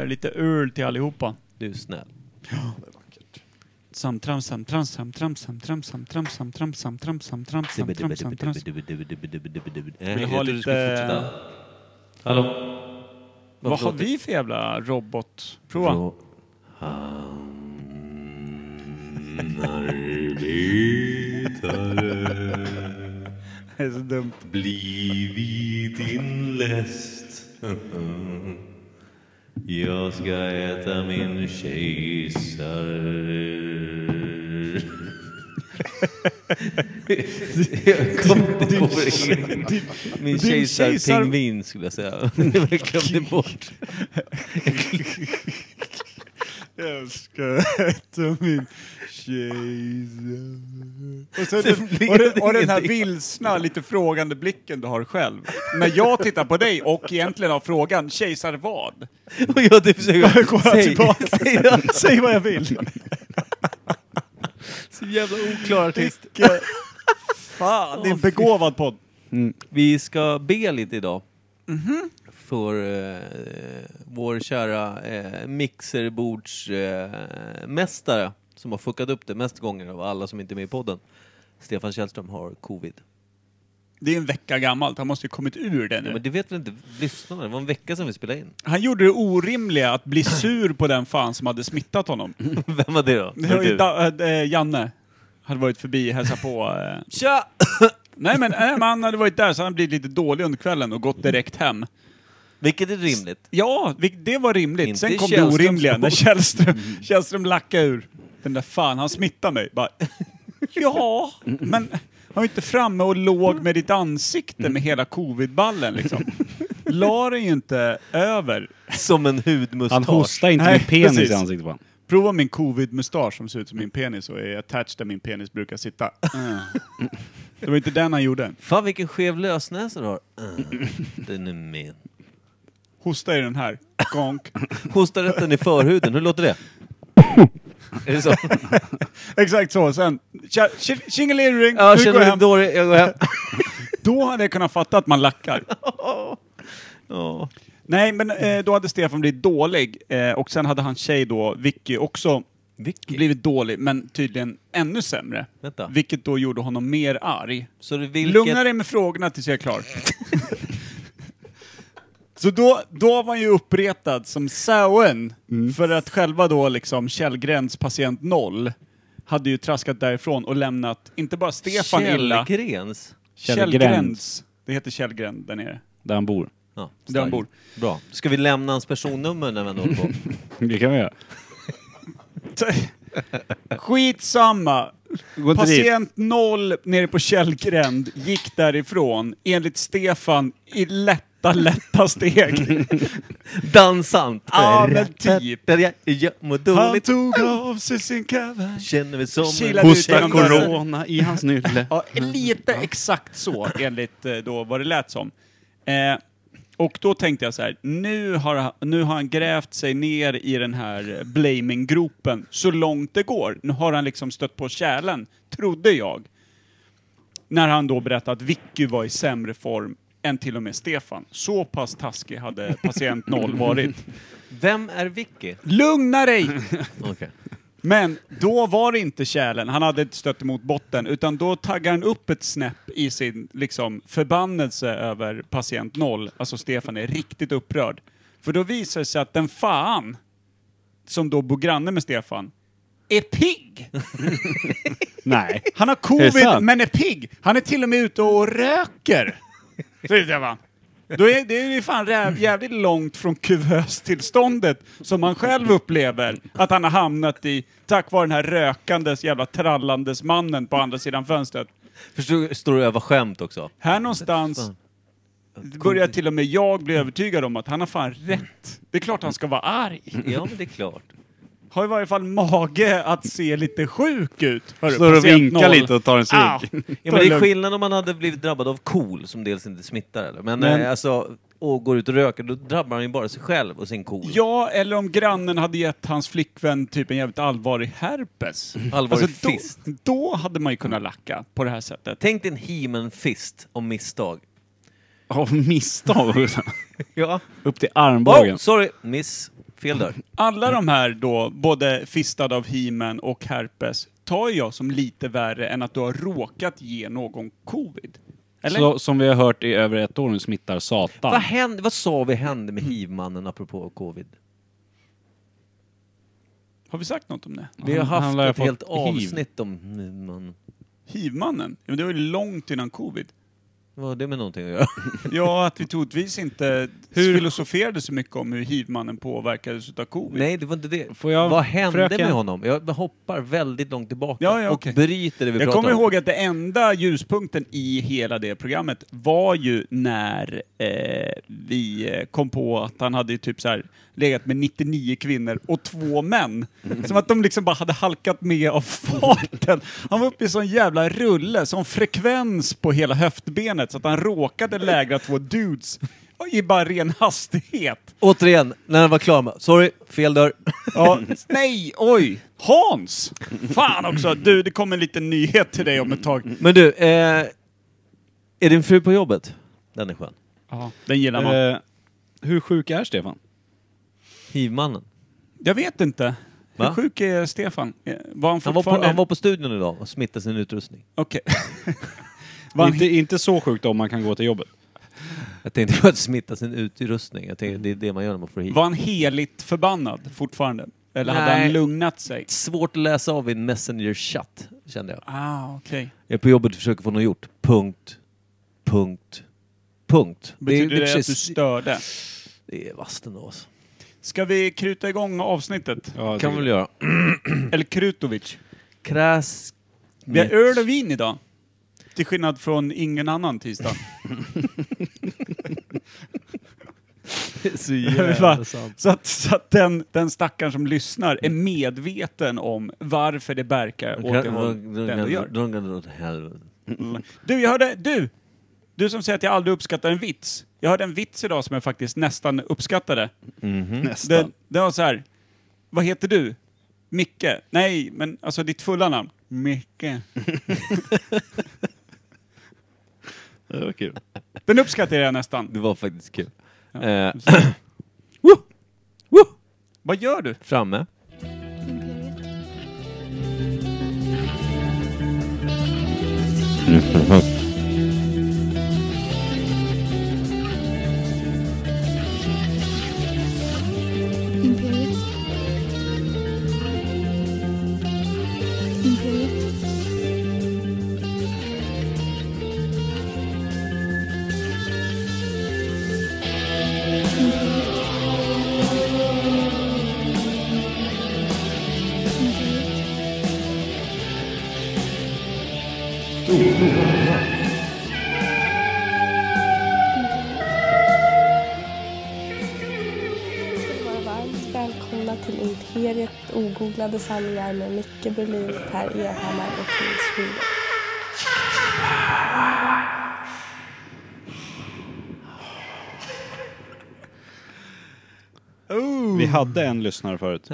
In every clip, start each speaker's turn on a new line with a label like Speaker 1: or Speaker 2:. Speaker 1: eh, lite öl till allihopa.
Speaker 2: Du är snäll.
Speaker 3: Det är vackert.
Speaker 1: Samtram, samtram, samtram, samtram, samtram, samtram, samtram, samtram, samtram, samtram.
Speaker 2: Vill
Speaker 1: Vill
Speaker 2: Eh,
Speaker 1: ha lite...
Speaker 2: Hallå?
Speaker 1: Vad har vi för jävla robot? Prova. Det är så dumt.
Speaker 4: blivit inläst. Jag ska äta min kejsare.
Speaker 2: Jag kom inte på det. Min
Speaker 1: kejsar-
Speaker 2: kejsarpingvin skulle jag säga. Jag glömde bort.
Speaker 1: Jag ska äta min kejsare. Och, så den,
Speaker 2: blev
Speaker 1: och, den, och den här
Speaker 2: ingenting.
Speaker 1: vilsna, lite frågande blicken du har själv. När jag tittar på dig och egentligen har frågan, kejsar vad?
Speaker 2: Och jag typ försöker...
Speaker 1: Kolla alltså tillbaka. Säg vad jag vill.
Speaker 2: Så jävla oklar artist.
Speaker 1: Fan, det är en begåvad podd.
Speaker 2: Vi ska be lite idag. För eh, vår kära eh, mixerbordsmästare eh, mästare som har fuckat upp det mest gånger av alla som inte är med i podden. Stefan Källström har covid.
Speaker 1: Det är en vecka gammalt, han måste ju kommit ur det
Speaker 2: Ja,
Speaker 1: nu.
Speaker 2: men det vet väl inte lyssnarna? Det var en vecka sedan vi spelade in.
Speaker 1: Han gjorde det orimliga att bli sur på den fan som hade smittat honom.
Speaker 2: Vem var det då?
Speaker 1: Det var ju
Speaker 2: du?
Speaker 1: da, äh, Janne. Hade varit förbi och hälsat på. eh.
Speaker 2: Tja!
Speaker 1: Nej men, nej, men han hade varit där så han blivit lite dålig under kvällen och gått direkt hem.
Speaker 2: Vilket är rimligt.
Speaker 1: Ja, vil- det var rimligt.
Speaker 2: Inte
Speaker 1: Sen kom det
Speaker 2: Källströms
Speaker 1: orimliga
Speaker 2: bord.
Speaker 1: när Källström, Källström lackade ur. Den där fan, han smittade mig. Bara, ja, men han var inte framme och låg med ditt ansikte med hela covidballen liksom. La det ju inte över.
Speaker 2: Som en hudmustasch.
Speaker 5: Han hostar inte
Speaker 1: Nej,
Speaker 5: med penis
Speaker 1: precis.
Speaker 5: i ansiktet på honom.
Speaker 1: Prova min covid-mustasch som ser ut som min penis och är attached där min penis brukar sitta. Mm. Det var inte den han gjorde.
Speaker 2: Fan vilken skev lösnäsa du har. Uh, den är min.
Speaker 1: Hosta i den här. Gonk.
Speaker 2: Hostar rätten i förhuden, hur låter det? är det så?
Speaker 1: Exakt så. Sen, tja- tji- tjingeling,
Speaker 2: Ja,
Speaker 1: nu går
Speaker 2: känner
Speaker 1: jag
Speaker 2: mig
Speaker 1: hem.
Speaker 2: dålig, jag går hem.
Speaker 1: Då hade jag kunnat fatta att man lackar.
Speaker 2: Ja.
Speaker 1: Nej, men eh, då hade Stefan blivit dålig eh, och sen hade hans tjej då, Vicky, också
Speaker 2: Vicky?
Speaker 1: blivit dålig, men tydligen ännu sämre.
Speaker 2: Vänta.
Speaker 1: Vilket då gjorde honom mer arg.
Speaker 2: Så det vilket...
Speaker 1: Lugna dig med frågorna tills jag är klar. Så då, då var han ju uppretad som Sauen
Speaker 5: Mm.
Speaker 1: för att själva då liksom Källgrens patient noll hade ju traskat därifrån och lämnat, inte bara Stefan illa,
Speaker 2: Källgrens?
Speaker 5: Källgrens.
Speaker 1: Källgrens. Det heter Källgren där nere.
Speaker 5: Där han bor.
Speaker 2: Ja,
Speaker 1: Där han bor.
Speaker 2: starkt. Bra. Ska vi lämna hans personnummer när vi ändå håller på?
Speaker 5: Det kan vi göra.
Speaker 1: Skitsamma.
Speaker 5: Gå inte dit.
Speaker 1: Patient noll nere på Källgränd gick därifrån, enligt Stefan, i lätta, lätta steg.
Speaker 2: Dansant!
Speaker 1: Ja, men typ.
Speaker 2: Där jag, jag
Speaker 1: Han
Speaker 2: mår dåligt,
Speaker 1: tog av sig sin kavaj.
Speaker 2: känner mig som
Speaker 1: Kilade
Speaker 2: en...
Speaker 1: ut genom dörren.
Speaker 5: i hans nylle.
Speaker 1: Ja, lite exakt så, enligt eh, då vad det lät som. Eh, och då tänkte jag så här, nu har, han- nu har han grävt sig ner i den här blaming-gropen så långt det går. Nu har han liksom stött på kärlen, trodde jag. När han då berättade att Vicky var i sämre form än till och med Stefan. Så pass taskig hade patient noll varit.
Speaker 2: Vem är Vicky?
Speaker 1: Lugna dig!
Speaker 2: Okej.
Speaker 1: Men då var det inte kärlen, han hade inte stött emot botten, utan då taggar han upp ett snäpp i sin liksom, förbannelse över patient noll. Alltså Stefan är riktigt upprörd. För då visar det sig att den fan, som då bor granne med Stefan, är pigg!
Speaker 5: Nej.
Speaker 1: Han har
Speaker 5: Är det
Speaker 1: covid
Speaker 5: sant?
Speaker 1: men är pigg! Han är till och med ute och röker! Så är det, va? Då är, det är ju fan rä- jävligt långt från kuvöstillståndet som han själv upplever att han har hamnat i tack vare den här rökandes jävla trallandes mannen på andra sidan fönstret.
Speaker 2: Förstår står du och övar skämt också?
Speaker 1: Här någonstans börjar till och med jag bli övertygad om att han har fan rätt. Det är klart han ska vara arg.
Speaker 2: Ja, men det är klart.
Speaker 1: Har i varje fall mage att se lite sjuk ut. Hörru,
Speaker 5: Står och
Speaker 1: patient
Speaker 5: vinkar
Speaker 1: noll.
Speaker 5: lite och tar en
Speaker 1: Ah,
Speaker 5: cigg.
Speaker 2: Ja,
Speaker 1: ta
Speaker 2: men
Speaker 1: det
Speaker 2: det är
Speaker 1: lugnt.
Speaker 2: skillnad om man hade blivit drabbad av KOL, som dels inte smittar eller, men,
Speaker 5: Men-
Speaker 2: Eh, alltså, och går ut och röker, då drabbar han ju bara sig själv och sin KOL.
Speaker 1: Ja, eller om grannen hade gett hans flickvän typ en jävligt allvarlig herpes. Alltså,
Speaker 2: Allvarlig
Speaker 1: då,
Speaker 2: fist.
Speaker 1: då hade man ju kunnat lacka på det här sättet.
Speaker 2: Tänk dig en he fist om misstag.
Speaker 5: Av misstag.
Speaker 2: Ja.
Speaker 5: Upp till
Speaker 2: Oh,
Speaker 5: armbågen.
Speaker 2: sorry, miss. Fel dörr.
Speaker 1: Alla de här då, både fistad av himen och herpes, tar jag som lite värre än att du har råkat ge någon covid. Eller?
Speaker 5: Så, som vi har hört i över ett år nu smittar satan.
Speaker 2: Vad, hände, vad sa vi hände med hivmannen apropå covid?
Speaker 1: Har vi sagt något om det?
Speaker 2: Vi har
Speaker 5: Han-
Speaker 2: haft
Speaker 5: han lär ha
Speaker 2: ett helt
Speaker 5: fått hiv.
Speaker 2: avsnitt om hivmannen.
Speaker 1: Hivmannen? Ja, men det var ju långt innan covid.
Speaker 2: Vad har det med någonting att göra?
Speaker 1: Ja, att vi troligtvis inte hur? filosoferade så mycket om hur hivmannen påverkades utav covid.
Speaker 2: Nej, det var inte det.
Speaker 5: Får jag-
Speaker 2: Vad hände
Speaker 5: fröken?
Speaker 2: med honom? Jag hoppar väldigt långt tillbaka
Speaker 1: Ja, ja,
Speaker 2: och
Speaker 1: okej.
Speaker 2: bryter det vi
Speaker 1: Jag
Speaker 2: pratar
Speaker 1: kommer
Speaker 2: om.
Speaker 1: ihåg att det enda ljuspunkten i hela det programmet var ju när eh, vi eh, kom på att han hade ju typ så här legat med 99 kvinnor och två män.
Speaker 2: Mm.
Speaker 1: Som att de liksom bara hade halkat med av farten. Han var uppe i sån jävla rulle, sån frekvens på hela höftbenet så att han råkade lägra två dudes i bara ren hastighet.
Speaker 2: Återigen, när han var klar med... Sorry, fel dörr.
Speaker 1: Ja, nej, oj! Hans! Fan också! Du, det kommer en liten nyhet till dig om ett tag.
Speaker 2: Men du, eh, är din fru på jobbet? Den är skön.
Speaker 1: Den gillar man.
Speaker 5: Eh, hur sjuk är Stefan?
Speaker 2: Hivmannen.
Speaker 1: Jag vet inte.
Speaker 2: Va?
Speaker 1: Hur sjuk är Stefan? Eh, Var han
Speaker 2: Han var, på,
Speaker 1: fortfarande...
Speaker 2: han var på studion idag och smittade sin utrustning.
Speaker 1: Okej. Var han-
Speaker 5: Inte, inte så sjukt om man kan gå till jobbet.
Speaker 2: Jag tänkte på att smitta sin utrustning. Jag tänkte, det är det man gör när man får hiv.
Speaker 1: Var han heligt förbannad fortfarande? Eller hade
Speaker 2: Nej.
Speaker 1: han lugnat sig?
Speaker 2: Svårt att läsa av i en messenger-chatt, kände jag.
Speaker 1: Ah, okej.
Speaker 2: Jag är på jobbet och försöker få något gjort. Punkt. Punkt. Punkt.
Speaker 1: Betyder det, att du
Speaker 2: precis-
Speaker 1: störde?
Speaker 2: det är vasten av oss.
Speaker 1: Ska vi kruta igång avsnittet?
Speaker 5: Ja,
Speaker 2: kan vi väl göra.
Speaker 1: Eller Krutovic?
Speaker 2: Kras...
Speaker 1: Vi har öl och vin idag. Till skillnad från ingen annan tisdag.
Speaker 2: Så
Speaker 1: Vi bara-
Speaker 2: jävla sant.
Speaker 1: Så att, så att den, den stackaren som lyssnar är medveten om varför det verkar åt det håll det ändå gör.
Speaker 2: De kan dra åt helvete.
Speaker 1: Du, jag hörde, du! Du som säger att jag aldrig uppskattar en vits. Jag hörde en vits idag som jag faktiskt nästan uppskattade.
Speaker 5: Nästan.
Speaker 1: Mm. Den, den var så här. Vad heter du? Micke? Nej, men alltså ditt fulla namn? Micke.
Speaker 5: Det var kul.
Speaker 1: Den uppskattade jag nästan.
Speaker 2: Det var faktiskt kul. Eh,
Speaker 1: Woo! Woo! Vad gör du?
Speaker 2: framme.
Speaker 3: Imperiet. Imperiet.
Speaker 6: ska vara varmt välkomna till Imperiet ogooglade sanningar med Micke Berlin, Per Evhammar och Nils Schüler.
Speaker 5: Vi hade en lyssnare förut.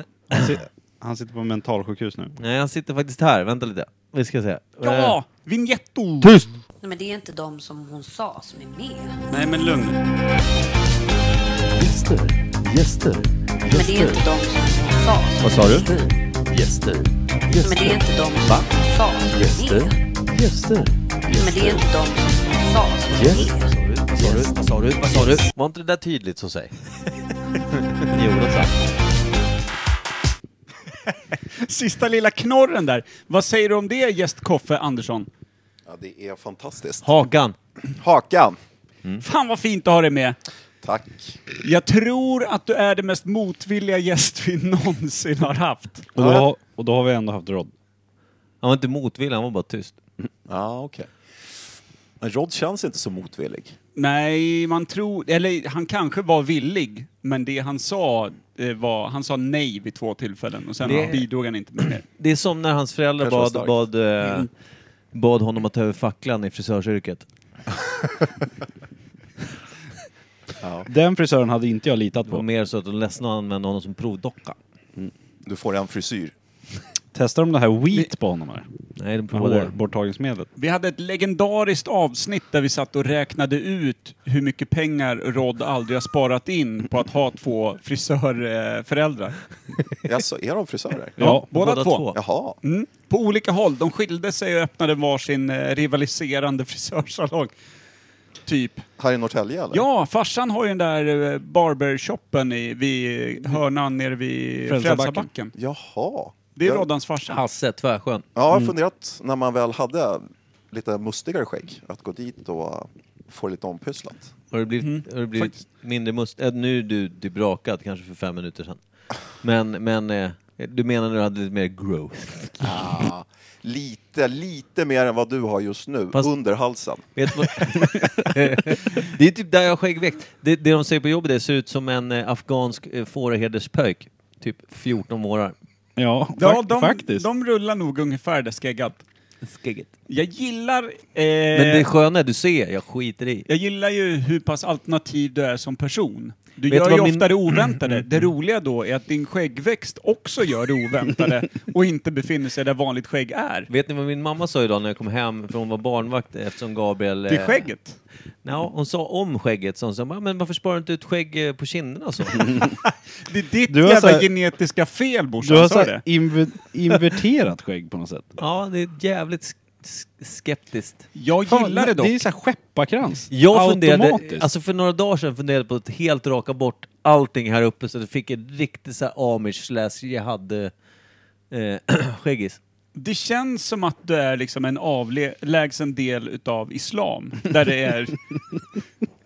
Speaker 5: Han, sit, han sitter på mentalsjukhus nu.
Speaker 2: Nej, han sitter faktiskt här. Vänta lite. Vi ska se. Eh,
Speaker 1: Ja! Vinjetto!
Speaker 7: Nej, men det är inte de som hon sa som är med.
Speaker 1: Nej, men lugn.
Speaker 2: Eh,
Speaker 8: Gäster, gäster,
Speaker 7: Nej, men det är
Speaker 8: gäster,
Speaker 7: inte de som hon sa som
Speaker 2: Vad sa du?
Speaker 8: gäster, gäster,
Speaker 7: Nej, men det är
Speaker 8: gäster,
Speaker 7: inte de som hon sa som är
Speaker 8: gäster,
Speaker 7: med.
Speaker 8: gäster,
Speaker 7: Nej, men det är inte de som hon sa som är med.
Speaker 2: Vad sa du? Vad sa du? Vad sa du? Var inte det där tydligt så säg? jo, det sa
Speaker 1: Sista lilla knorren där. Vad säger du om det, gäst Koffe Andersson?
Speaker 9: Ja, det är fantastiskt.
Speaker 2: Hakan.
Speaker 9: Hakan.
Speaker 5: Mm.
Speaker 1: Fan vad fint att ha dig med!
Speaker 9: Tack.
Speaker 1: Jag tror att du är den mest motvilliga gäst vi någonsin har haft.
Speaker 5: Och då, har- och då har vi ändå haft Rod.
Speaker 2: Han var inte motvillig, han var bara tyst.
Speaker 9: Ja, okej. Men Rod känns inte så motvillig.
Speaker 1: Nej, man tror... Eller han kanske var villig, men det han sa eh, var... Han sa nej vid två tillfällen och sen
Speaker 2: Det-
Speaker 1: bidrog han inte med mer.
Speaker 2: Det är som när hans föräldrar
Speaker 9: Kanske var
Speaker 2: bad,
Speaker 9: starkt.
Speaker 2: bad, eh, bad honom att ta över facklan i frisörsyrket.
Speaker 5: Den frisören hade inte jag litat
Speaker 2: Det var
Speaker 5: på.
Speaker 2: mer så att de ledsna och använde honom som provdocka.
Speaker 9: Du får en frisyr.
Speaker 5: Testar de det här Wheat på honom eller?
Speaker 2: Nej, de provade det.
Speaker 5: Hårborttagningsmedlet.
Speaker 1: Vi hade ett legendariskt avsnitt där vi satt och räknade ut hur mycket pengar Rod aldrig har sparat in på att ha två frisörföräldrar.
Speaker 9: Alltså, är de frisörer?
Speaker 5: Ja.
Speaker 1: båda,
Speaker 2: båda
Speaker 1: två.
Speaker 2: två.
Speaker 9: Jaha.
Speaker 1: Mm. På olika håll. De skilde sig och öppnade varsin eh, rivaliserande frisörsalong. Typ.
Speaker 9: Här i Norrtälje eller?
Speaker 1: Ja, farsan har ju den där eh, barbershoppen i, vid hörnan nere vid
Speaker 5: Frälsarbacken.
Speaker 1: Frälsarbacken.
Speaker 9: Jaha.
Speaker 1: Det är
Speaker 9: Jag-
Speaker 1: Roddans farsa.
Speaker 2: Hasse Tvärsjön.
Speaker 9: Ja, jag har funderat när man väl hade lite mustigare skägg att gå dit och få det lite ompysslat.
Speaker 2: Har det blivit, har det blivit
Speaker 1: Faktiskt.
Speaker 2: mindre must... Äh, nu är du debrakad kanske för fem minuter sedan. Men, men eh, du menar när du hade lite mer growth?
Speaker 9: Ah. Lite, lite mer än vad du har just nu,
Speaker 2: Fast-
Speaker 9: under halsen.
Speaker 2: Vet du vad? det är typ där jag har skäggväxt. Det, det de säger på jobbet det ser ut som en eh, afghansk eh, fåraherderspöjk. Typ 14 månader.
Speaker 5: Ja,
Speaker 1: Ja,
Speaker 5: fak-
Speaker 1: de,
Speaker 5: faktiskt.
Speaker 1: de rullar nog ungefär det skäggat.
Speaker 2: Skägget.
Speaker 1: Jag gillar... Eh,
Speaker 2: Men det sköna är, du ser, jag skiter i.
Speaker 1: Jag gillar ju hur pass alternativ du är som person. Du
Speaker 2: Vet
Speaker 1: gör
Speaker 2: du
Speaker 1: ju
Speaker 2: vad min-
Speaker 1: ofta det oväntade.
Speaker 5: Mm.
Speaker 1: Det roliga då är att din skäggväxt också gör det oväntade och inte befinner sig där vanligt skägg är.
Speaker 2: Vet ni vad min mamma sa idag när jag kom hem, för hon var barnvakt eftersom Gabriel...
Speaker 1: Till
Speaker 2: eh,
Speaker 1: skägget.
Speaker 2: Ja, hon sa om skägget, så hon sa, men varför sparar du inte ut skägg eh, på kinderna och så?
Speaker 1: Det är ditt
Speaker 5: Du har
Speaker 1: jävla
Speaker 5: så här-
Speaker 1: genetiska fel
Speaker 5: Du
Speaker 1: brorsan,
Speaker 5: har
Speaker 1: sa
Speaker 5: så
Speaker 1: det?
Speaker 5: här inver- inverterat skägg på något sätt.
Speaker 2: ja, det är jävligt sk- sk- skeptiskt.
Speaker 1: Jag
Speaker 5: Fan,
Speaker 1: gillar det dock.
Speaker 5: Det är så här skepparkrans.
Speaker 2: Jag funderade,
Speaker 5: Automatiskt.
Speaker 2: alltså för några dagar sedan funderade jag på att helt raka bort allting här uppe så att jag fick en riktig så här amish slash jihad eh, skäggis.
Speaker 1: Det känns som att du är liksom en avlägsen del utav islam. Där det är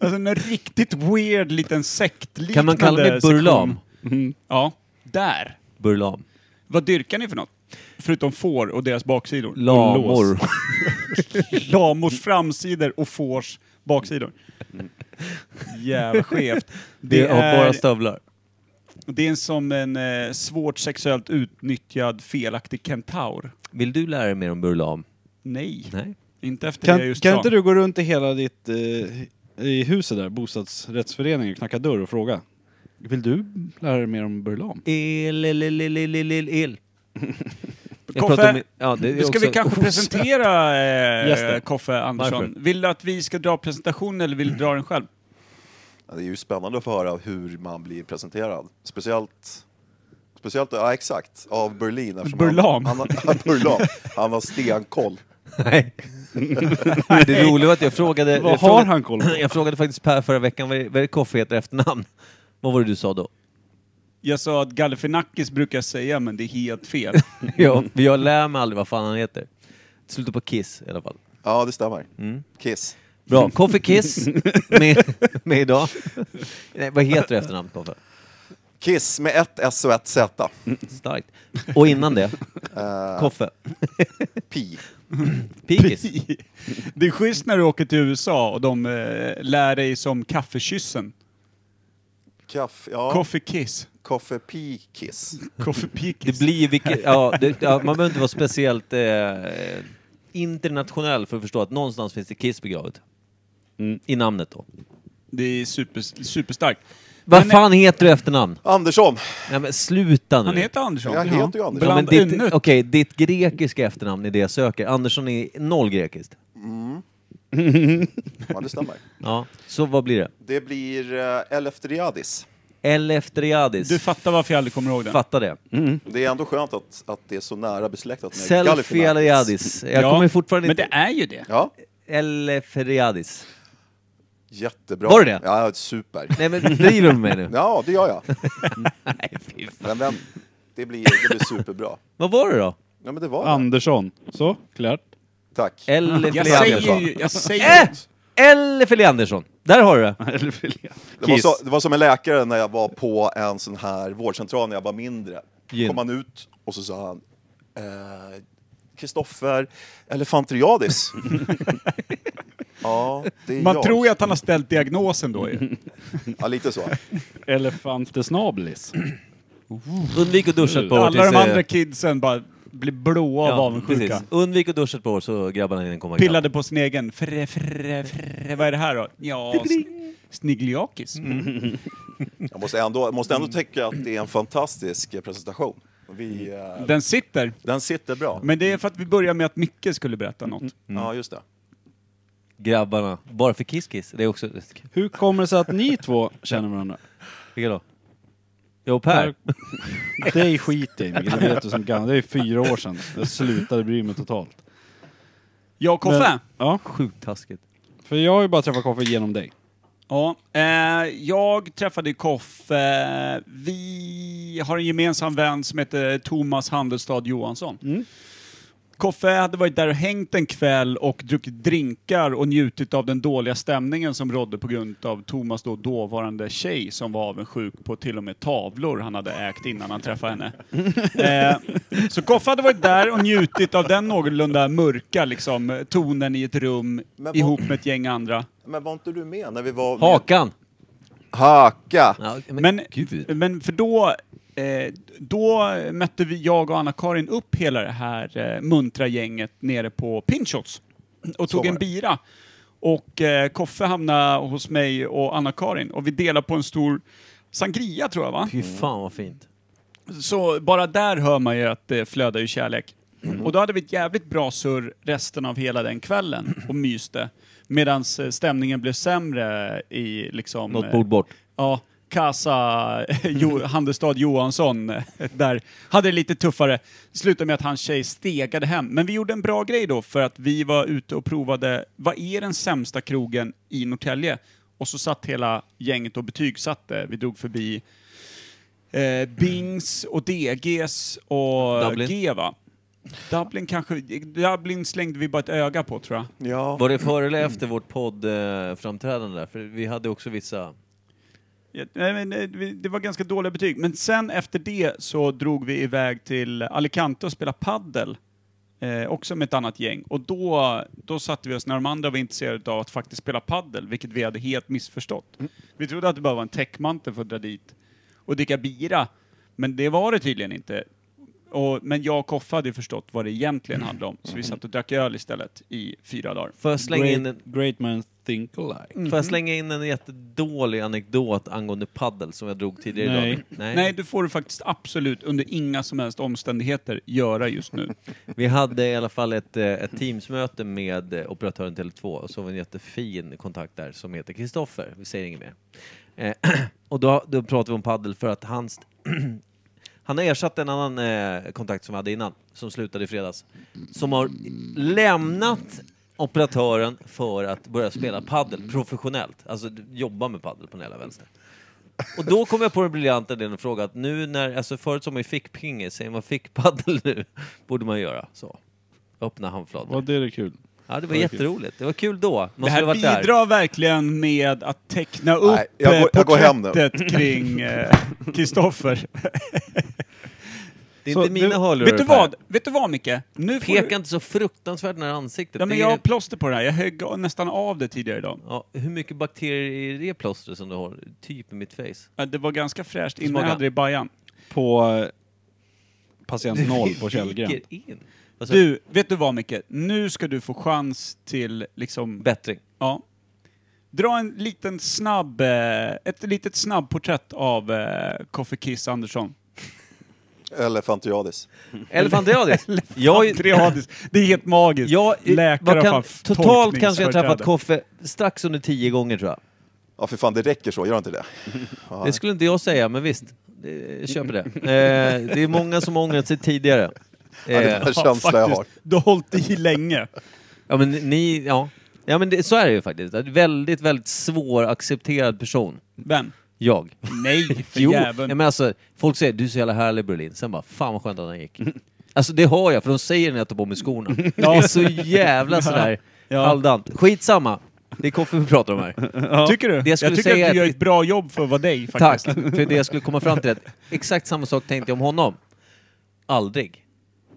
Speaker 1: alltså en riktigt weird liten sektliknande
Speaker 2: Kan man kalla mig burlam?
Speaker 1: sektion. Mm. Ja, där.
Speaker 2: Burlam.
Speaker 1: Vad dyrkar ni för något? Förutom får och deras baksidor.
Speaker 2: Lamor.
Speaker 1: Lamors framsidor och fårs baksidor. Jävla skevt. Det,
Speaker 2: Det har bara
Speaker 1: är,
Speaker 2: stövlar.
Speaker 1: det är som en eh, svårt sexuellt utnyttjad felaktig kentaur.
Speaker 2: Vill du lära dig mer om burlam?
Speaker 1: Nej,
Speaker 2: Nej.
Speaker 1: inte efter det jag
Speaker 5: Kan,
Speaker 1: just
Speaker 5: kan
Speaker 1: sa.
Speaker 5: inte du gå runt i hela ditt eh, i huset där, bostadsrättsföreningen, och knacka dörr och fråga? Vill du lära dig mer om Burlam?
Speaker 2: El, el, el, el, el, el, el, el. Jag
Speaker 1: Koffe,
Speaker 2: pratar om- ja, det är
Speaker 1: Nu ska
Speaker 2: också-
Speaker 1: vi kanske presentera eh,
Speaker 5: Gäster.
Speaker 1: Koffe Andersson.
Speaker 2: Varför?
Speaker 1: Vill du att vi ska dra presentationen eller vill du dra den själv?
Speaker 9: Ja, Det är ju spännande att få höra hur man blir presenterad. Speciellt, speciellt ja, exakt, av Berlin. eftersom
Speaker 1: Burlam.
Speaker 9: Han, han, han, Burlam. han har stenkoll.
Speaker 2: Nej. Det roliga var att jag frågade...
Speaker 5: Vad
Speaker 2: jag
Speaker 5: har
Speaker 2: frågade,
Speaker 5: han koll på?
Speaker 2: Jag frågade faktiskt Per förra veckan vad är, vad är det Koffe heter i efternamn. Vad var det du sa då?
Speaker 1: Jag sa att Galifinakis brukar jag säga, men det är helt fel.
Speaker 2: Ja, men jag lär mig aldrig vad fan han heter. Slutar på Kiss i alla fall.
Speaker 9: Ja, det stämmer.
Speaker 2: Mm.
Speaker 9: Kiss.
Speaker 2: Bra, Koffe Kiss med, med idag. Nej, vad heter det efternamn Koffe?
Speaker 9: Kiss med ett S och ett Z. Eh,
Speaker 2: Starkt. Och innan det, Koffe.
Speaker 9: Pi.
Speaker 2: Pikis.
Speaker 1: det är schysst när du åker till USA och de eh, lär dig som kaffekyssen.
Speaker 9: Kaffe, ja.
Speaker 1: Coffee kiss.
Speaker 9: Koffe Pi Kiss.
Speaker 1: Coffee pikis.
Speaker 2: Det blir vilket, ja, det, ja, man behöver inte vara speciellt eh, internationell för att förstå att någonstans finns det Kiss begravet. I namnet då.
Speaker 1: Det är super, superstarkt.
Speaker 2: Vad
Speaker 1: Men- eh,
Speaker 2: fan heter du efternamn?
Speaker 9: Andersson.
Speaker 2: Nej men sluta nu.
Speaker 1: Han heter Andersson.
Speaker 9: Jag heter ju Andersson.
Speaker 2: Ja, men
Speaker 1: Bland
Speaker 2: ditt,
Speaker 1: unnet.
Speaker 2: okej, ditt grekiska efternamn är det jag söker. Andersson är noll grekiskt.
Speaker 9: Ja, det stämmer.
Speaker 2: Ja, så vad blir det?
Speaker 9: Det blir eh, Eleftheriadis.
Speaker 2: Eleftheriadis.
Speaker 1: Du Mm. fattar varför jag aldrig kommer ihåg den.
Speaker 2: Fattar det.
Speaker 9: Det är ändå skönt att, att det är så nära besläktat med Galifianakis.
Speaker 2: Selferiadis. Jag
Speaker 1: Ja,
Speaker 2: kommer fortfarande
Speaker 1: Men
Speaker 2: inte...
Speaker 1: det är ju det.
Speaker 9: Ja,
Speaker 2: Eleftheriadis.
Speaker 9: jättebra.
Speaker 2: Var det det?
Speaker 9: Ja, super.
Speaker 2: Nej men driver du med mig nu?
Speaker 9: Ja, det gör jag.
Speaker 2: Nej, fy fan.
Speaker 9: Men, men, det, blir, det blir superbra.
Speaker 2: Vad var det då?
Speaker 9: Ja, men det var det.
Speaker 5: Andersson. Så, klart.
Speaker 9: Tack.
Speaker 1: Jag
Speaker 2: Eleftheriadis.
Speaker 1: säger ju... Jag säger
Speaker 2: Äh! Elefeli Andersson. Där har du det.
Speaker 5: Eller vill jag?
Speaker 9: Det var, så, det var som en läkare när jag var på en sån här vårdcentral när jag var mindre.
Speaker 2: Gin.
Speaker 9: kom han ut och så sa han eh, Kristoffer Elefantriadis. ja, det är
Speaker 1: Man
Speaker 9: jag.
Speaker 1: tror ju att han har ställt diagnosen då ju.
Speaker 9: Ja, lite så.
Speaker 5: Elefantesnablis.
Speaker 2: Undvik att duscha ett par år
Speaker 1: Alla
Speaker 2: tills,
Speaker 1: de
Speaker 2: eh,
Speaker 1: andra kidsen bara blir blåa av avundsjuka.
Speaker 2: precis. Undvik att duscha ett par år så grabbarna hinner komma ikapp.
Speaker 1: Pillade på sin egen. Frä, frä, frä. Vad är det här då? Ja, sn- snigliakis.
Speaker 9: Jag måste ändå, måste ändå tycka att det är en fantastisk eh, presentation. Vi, eh, den...
Speaker 1: Den sitter.
Speaker 9: sitter bra.
Speaker 1: Men det är för att vi börjar med att Micke skulle berätta något.
Speaker 9: Ja, just det.
Speaker 2: Grabbarna. Bara för Kiss Kiss. Det är också...
Speaker 5: Hur kommer det sig att ni två känner varandra?
Speaker 2: Vilka då? Jag och Per.
Speaker 5: Dig skiter jag i, Micke. det vet du som gammal. Det är fyra år sedan. Jag slutade bry mig totalt.
Speaker 1: Jag och Koffe.
Speaker 5: Men- Ja,
Speaker 2: Sjukt taskigt.
Speaker 5: för jag har ju bara träffat Koffe genom dig.
Speaker 1: Ja, eh, jag träffade Koffe. vi har en gemensam vän som heter Thomas Handelstad Johansson.
Speaker 9: Mm.
Speaker 1: Koffe hade varit där och hängt en kväll och druckit drinkar och njutit av den dåliga stämningen som rådde på grund av Thomas då dåvarande tjej som var avundsjuk på till och med tavlor han hade ägt innan han träffade henne. Eh, så Koffe hade varit där och njutit av den någorlunda mörka liksom, tonen i ett rum
Speaker 9: Men vad-
Speaker 1: ihop med ett gäng andra.
Speaker 9: Men var inte du med när vi var...
Speaker 2: Hakan!
Speaker 9: Haka!
Speaker 2: Ja,
Speaker 1: Men,
Speaker 2: gud.
Speaker 1: men för då, eh, då mötte vi, jag och Anna-Karin upp hela det här eh, muntra gänget nere på Pinchos och
Speaker 9: Så
Speaker 1: tog
Speaker 9: var
Speaker 1: en
Speaker 9: det.
Speaker 1: bira. Och eh, Koffe hamnade hos mig och Anna-Karin och vi delade på en stor sangria tror jag va?
Speaker 2: Fy fan vad fint.
Speaker 1: Så bara där hör man ju att det flödar ju kärlek. Och då hade vi ett jävligt bra surr resten av hela den kvällen och myste. Medan stämningen blev sämre i liksom...
Speaker 2: Något
Speaker 1: eh,
Speaker 2: bord bort.
Speaker 1: Ja, Kasa jo, Handelsstad Johansson eh, där hade det lite tuffare. Slutade med att hans tjej stegade hem. Men vi gjorde en bra grej då för att vi var ute och provade vad är den sämsta krogen i Norrtälje? Och så satt hela gänget och betygsatte. Vi drog förbi eh, Bings och DGs och
Speaker 2: Dublin.
Speaker 1: G va? Dublin kanske, Dublin slängde vi bara ett öga på tror jag.
Speaker 9: Ja.
Speaker 2: Var det före eller efter vårt poddframträdande där? För vi hade också vissa...
Speaker 1: Ja, nej, men det- vi- Det var ganska dåliga betyg. Men sen efter det så drog vi iväg till Alicante och spelade paddel. Eh, också med ett annat gäng. Och då, då satte vi oss när de andra var intresserade av att faktiskt spela paddel, vilket vi hade helt missförstått. Vi trodde att det bara var en täckmantel för att dra dit och dricka bira. Men det var det tydligen inte. Och, men jag och Koffe hade ju förstått vad det egentligen handlade om, så vi satt och drack öl istället i fyra dagar.
Speaker 2: Får jag slänga in en,
Speaker 5: Great, great man think alike.
Speaker 2: får jag slänga in en jättedålig anekdot angående paddel som jag drog tidigare
Speaker 5: Nej.
Speaker 2: idag? Nej.
Speaker 1: Nej, det får du faktiskt absolut under inga som helst omständigheter göra just nu.
Speaker 2: Vi hade i alla fall ett, eh, ett teamsmöte med eh, operatören Tele2 och så var det en jättefin kontakt där som heter Kristoffer. Vi säger inget mer. Eh, och då, då pratade vi om paddel för att hans... han har ersatt en annan eh, kontakt som vi hade innan, som slutade i fredags. Som har lämnat operatören för att börja spela paddel professionellt. Alltså d- jobba med paddel på den hela vänster. Och då kom jag på den briljanta idén att fråga att nu när, alltså förut som man ju fick pingis, säger man fick paddel nu, borde man göra så. Öppna handflatan.
Speaker 5: Vad det är kul.
Speaker 2: Ja, det var jätteroligt. Det var kul då. Man
Speaker 1: Det här
Speaker 2: skulle varit där.
Speaker 1: bidrar verkligen med att teckna upp
Speaker 9: Nej, jag går-
Speaker 1: eh,
Speaker 9: jag går hem nu.
Speaker 1: porträttet kring eh, Kristoffer.
Speaker 2: Det är
Speaker 5: Så
Speaker 2: inte mina
Speaker 5: du-
Speaker 2: hörlurar.
Speaker 1: vet du
Speaker 2: Per.
Speaker 1: vad? Vet du vad Micke? Nu får
Speaker 2: Peka
Speaker 1: du...
Speaker 2: inte så fruktansvärt nära ansiktet.
Speaker 1: ja, men
Speaker 2: Det
Speaker 1: jag
Speaker 2: är-
Speaker 1: har plåster på det här. Jag högg nästan av det tidigare idag.
Speaker 2: ja, hur mycket bakterier är i det plåstret som du har? Typ i mitt face.
Speaker 1: Ja, Det var ganska fräscht innan
Speaker 2: Smaka.
Speaker 1: jag hade det i bajan.
Speaker 5: På eh, patient noll på Källgren.
Speaker 2: Viker in. Alltså, du...
Speaker 1: Du, vet du vad Micke? Nu ska du få chans till liksom...
Speaker 2: Bättring.
Speaker 1: Ja. Dra en liten snabb, eh, ett litet snabbporträtt av eh, Koffe Kiss Andersson.
Speaker 9: Elefantiadis.
Speaker 2: Elefantiadis. jag, är-
Speaker 1: Triadis. Det är helt magiskt.
Speaker 2: jag,
Speaker 1: Läkare
Speaker 2: vad
Speaker 1: har
Speaker 2: kan,
Speaker 1: fan
Speaker 2: totalt kanske jag har träffat
Speaker 1: tolkningsföreträde.
Speaker 2: Koffe strax under tio gånger tror jag.
Speaker 9: Ja, för fan, det räcker så. Gör inte det.
Speaker 2: Det skulle inte jag säga, men visst. Eh, Jag köper det. Eh, det är många som har ångrat sig tidigare.
Speaker 9: Ja, det
Speaker 2: Eh,
Speaker 9: var en känsla jag har.
Speaker 1: faktiskt. Du har hållit i länge.
Speaker 2: ja, men ni, ja. ja, men det, så är det ju faktiskt. En väldigt, väldigt svåraccepterad person.
Speaker 1: Vem?
Speaker 2: Jag.
Speaker 1: Nej, för
Speaker 2: Jo, ja,
Speaker 1: jäveln.
Speaker 2: men alltså, folk säger du är så jävla härlig Berlin, sen bara fan vad skönt att han gick. Alltså det har jag, för de säger det när jag tar på mig skorna. Det är så jävla sådär
Speaker 1: Ja.
Speaker 2: halvdant. Skitsamma, det är koffe vi pratar om här.
Speaker 1: Tycker du?
Speaker 2: Det
Speaker 1: jag
Speaker 2: skulle
Speaker 1: tycker
Speaker 2: säga
Speaker 1: att du gör
Speaker 2: att-
Speaker 1: ett bra jobb för att vara dig
Speaker 2: Tack,
Speaker 1: faktiskt.
Speaker 2: för det jag skulle komma fram till. Att exakt samma sak tänkte jag om honom. Aldrig.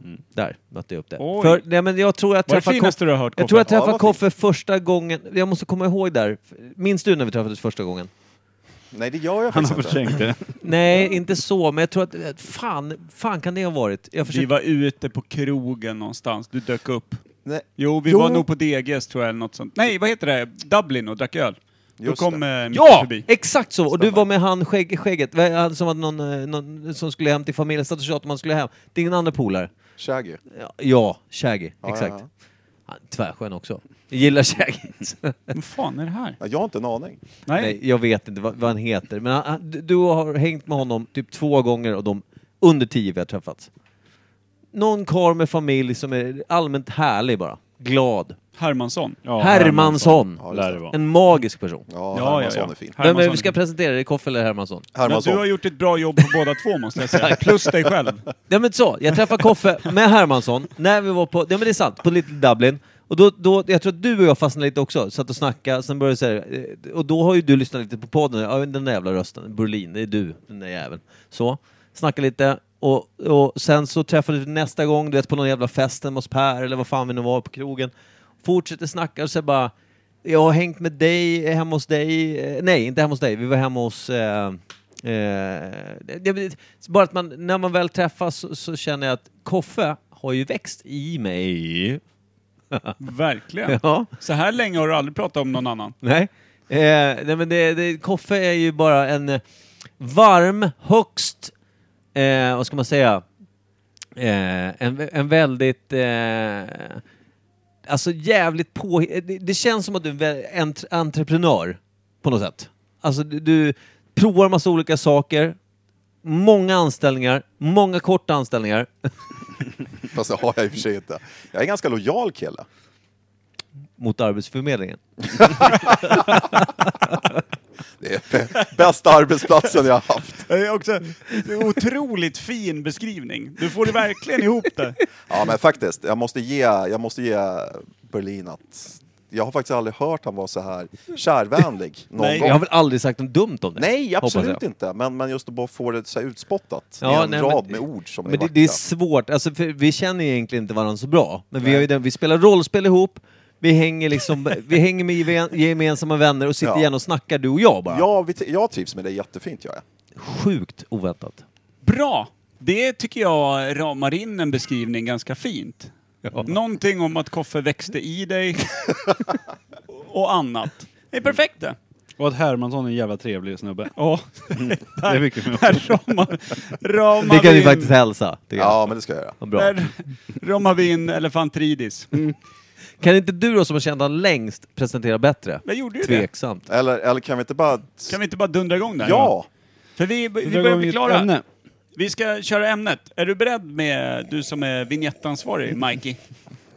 Speaker 2: Mm, Där mötte jag upp det.
Speaker 1: Oj.
Speaker 2: För, nej, men jag tror jag
Speaker 1: Vad är det
Speaker 2: träffade
Speaker 1: finaste du har hört,
Speaker 2: Jag tror jag
Speaker 1: Koffe?
Speaker 9: Ja, det
Speaker 2: träffade
Speaker 9: var fint.
Speaker 2: Koffe första gången. Jag måste komma ihåg där. Minns du när vi träffades första gången?
Speaker 9: Nej, det gör jag
Speaker 5: Han
Speaker 9: faktiskt
Speaker 5: har
Speaker 9: inte.
Speaker 5: förträngt det.
Speaker 2: Nej, inte så, men jag tror att... Fan, fan kan det ha varit? Jag
Speaker 1: Vi
Speaker 2: försökte...
Speaker 1: var ute på krogen någonstans, du dök upp.
Speaker 9: Nej.
Speaker 1: Jo, vi
Speaker 9: Jo.
Speaker 1: var nog på DGs tror jag eller något sånt. Nej, vad heter det? Dublin och drack öl. Då
Speaker 9: Just
Speaker 1: kom
Speaker 9: det.
Speaker 1: eh, Micke
Speaker 2: Ja!
Speaker 1: förbi.
Speaker 2: Exakt så! Och du
Speaker 9: Stämmer.
Speaker 2: var med han skägg, skägget, vad är han som, hade någon, eh, någon, som skulle hem till familjen, satt och tjatade om han skulle hem. Din andra polare.
Speaker 9: Shaggy.
Speaker 2: Ja, Ja, Shaggy.
Speaker 9: Ja,
Speaker 2: exakt.
Speaker 9: ja,
Speaker 2: Han är tvärskön också. Jag gillar Shaggy.
Speaker 1: Vad fan är det här?
Speaker 9: Ja, jag har inte en aning.
Speaker 1: Nej.
Speaker 2: Nej, jag vet inte vad, vad han heter. Men han, han, du- du har hängt med honom typ två gånger och de under tio vi har träffats. Någon karl med familj som är allmänt härlig bara. Glad.
Speaker 1: Hermansson.
Speaker 5: Ja,
Speaker 2: Hermansson.
Speaker 9: Ja, just
Speaker 5: Lär det
Speaker 9: det.
Speaker 5: vara.
Speaker 2: En magisk person.
Speaker 9: Ja,
Speaker 1: Ja,
Speaker 9: Hermansson
Speaker 1: ja, ja.
Speaker 9: är fin.
Speaker 2: Vem är det
Speaker 1: Hermansson
Speaker 2: vi ska
Speaker 1: är fin.
Speaker 2: presentera? Är det Koff eller Hermansson?
Speaker 1: Men
Speaker 9: Hermansson.
Speaker 1: du har gjort ett bra jobb på båda två måste jag säga. Plus dig själv.
Speaker 2: Ja men så, jag träffade Koffe med Hermansson när vi var på, ja men det är sant, på Little Dublin. Och då, då, jag tror att du och jag fastnade lite också, satt och snackade, sen började säga, eh, och då har ju du lyssnat lite på podden, ja den där jävla rösten, Berlin, det är du, den där jäveln. Så, snackade lite, och, och sen så träffade vi nästa gång, du vet på någon jävla fest hemma hos Per, eller vad fan vi nu var på krogen. Fortsätter snacka och så bara, jag har hängt med dig, hemma hos dig, eh, nej inte hemma hos dig, vi var hemma hos eh, Eh, det- det- bara att man, när man väl träffas så, så känner jag att Koffe har ju växt i mig.
Speaker 1: Verkligen.
Speaker 2: Ja.
Speaker 1: Så här länge har du aldrig pratat om någon annan.
Speaker 2: Nej. Eh, nej men det, det, Koffe är ju bara en eh, varm, högst, eh, vad ska man säga, eh, en, en väldigt, eh, alltså jävligt på... Det, det känns som att du är en vä- entre- entreprenör på något sätt. Alltså du, du provar massa olika saker, många anställningar, många korta anställningar.
Speaker 9: Fast det har jag i och för sig inte. Jag är en ganska lojal kille.
Speaker 2: mot Arbetsförmedlingen.
Speaker 9: Det är b- bästa arbetsplatsen jag har haft.
Speaker 1: Det är också en otroligt fin beskrivning. Du får det verkligen ihop det.
Speaker 9: Ja, men faktiskt. Jag måste ge, jag måste ge Berlin att jag har faktiskt aldrig hört han vara så här kärvänlig någon
Speaker 1: Nej,
Speaker 9: gång.
Speaker 2: Jag har väl aldrig sagt något dumt om det?
Speaker 9: Nej,
Speaker 2: hoppas
Speaker 9: absolut
Speaker 2: jag.
Speaker 9: inte. Men, men just att bara få det så här utspottat
Speaker 2: Ja,
Speaker 9: i en
Speaker 2: nej,
Speaker 9: rad
Speaker 2: men-
Speaker 9: med ord som är
Speaker 2: Men det,
Speaker 9: vackra.
Speaker 2: det är svårt, alltså, för vi känner ju egentligen inte varandra så bra. Men vi, har ju den, vi spelar rollspel ihop, vi hänger, liksom, vi hänger med gemen- gemensamma vänner och sitter
Speaker 9: Ja.
Speaker 2: igen och snackar du och jag bara.
Speaker 9: Ja, vi t- jag trivs med det jättefint, gör jag.
Speaker 2: Sjukt oväntat.
Speaker 1: Bra! Det tycker jag ramar in en beskrivning ganska fint. Någonting om att koffe växte i dig och annat. Det är perfekt det.
Speaker 5: Och att Hermansson är en jävla trevlig snubbe.
Speaker 1: Ja,
Speaker 5: Det är mycket mer.
Speaker 1: här ramar, ramar
Speaker 2: Det kan
Speaker 1: vi
Speaker 2: vi
Speaker 1: in,
Speaker 2: faktiskt hälsa. tycker jag.
Speaker 9: Ja, men det ska jag göra.
Speaker 2: Vad Bra.
Speaker 1: Där ramar vi in elefantridis.
Speaker 2: Kan inte du då som har känt honom längst presentera bättre?
Speaker 1: Jag gjorde ju det.
Speaker 2: Tveksamt.
Speaker 9: Eller, eller kan vi inte bara...
Speaker 1: Kan vi inte bara dundra igång där?
Speaker 9: Ja!
Speaker 1: För vi, vi
Speaker 5: Dra
Speaker 1: börjar
Speaker 5: igång
Speaker 1: bli
Speaker 5: ett
Speaker 1: klara.
Speaker 5: ämne.
Speaker 1: Vi ska köra ämnet. Är du beredd med, du som är vignettansvarig, Mikey?